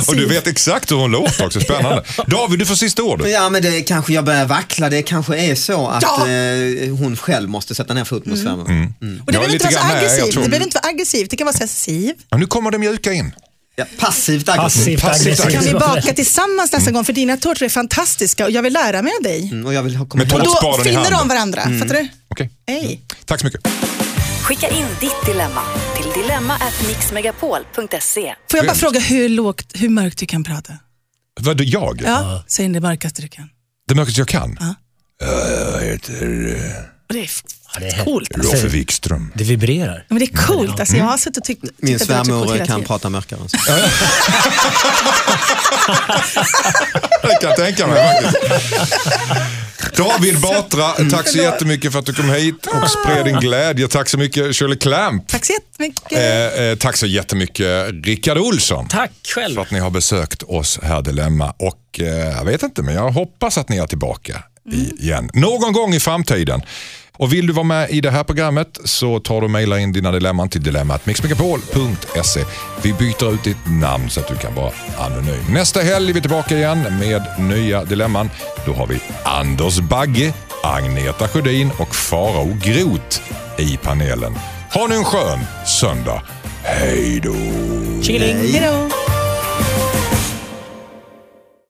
Och
Siv.
du vet exakt hur hon låter också, spännande. David, du får sista ordet.
Ja men det kanske jag börjar vackla, det kanske är så att
Ja!
eh, hon själv måste sätta ner foten mot Mm. svärmen.
Och
Jag
det
är
behöver
lite
inte vara så
grann med, jag
aggressivt.
tror.
Det behöver inte vara aggressivt. Det kan vara så här, Siv,
Ja, nu kommer det mjuka in.
Ja, passivt aggressivt.
Passivt
Passivt
aggressivt.
kan vi
aggressivt.
baka tillsammans
Mm.
nästa gång för dina tårtor är fantastiska och jag vill lära mig av dig.
Mm, och jag vill ha
Men
kommentarer.
tolv-
Då
spaden i
finner
handen. Mm.
de varandra. Fattar du?
Okej.
Hej.
Tack så mycket.
Skicka in ditt dilemma till dilemma@mixmegapol.se.
Får jag bara
Grymt.
fråga hur, lågt, hur mörkt du kan prata?
Vadå, jag?
Ja, säg det mörkaste du kan.
Det mörkaste jag kan? Eh, Jag heter eh,
Och Det är f-
Ja, det är-
coolt. Alltså.
Roffe Wikström.
Det vibrerar.
Men det är coolt. Alltså, jag
Mm.
har suttit och tyckt tyckt
Min
att det typ har varit så coolt
svärmor
hela
kan
tiden.
prata mörkare. än så.
Jag kan tänka mig faktiskt. David Batra, tack så jättemycket för att du kom hit och spred din glädje. Tack så mycket Shirley Clamp.
Tack så jättemycket.
Eh, eh, tack så jättemycket Rickard Olsson.
Tack själv.
För att ni har besökt oss här Dilemma. Och eh, jag vet inte, men jag hoppas att ni är tillbaka igen. Någon gång i framtiden. Och vill du vara med i det här programmet så tar du och mejlar in dina dilemman till dilemmatmixmegapol.se. Vi byter ut ditt namn så att du kan vara anonym. Nästa helg är vi tillbaka igen med nya dilemman. Då har vi Anders Bagge, Agneta Sjödin och Farao Groth i panelen. Ha nu en skön söndag. Hej då!
Tjingeling.
Hej då.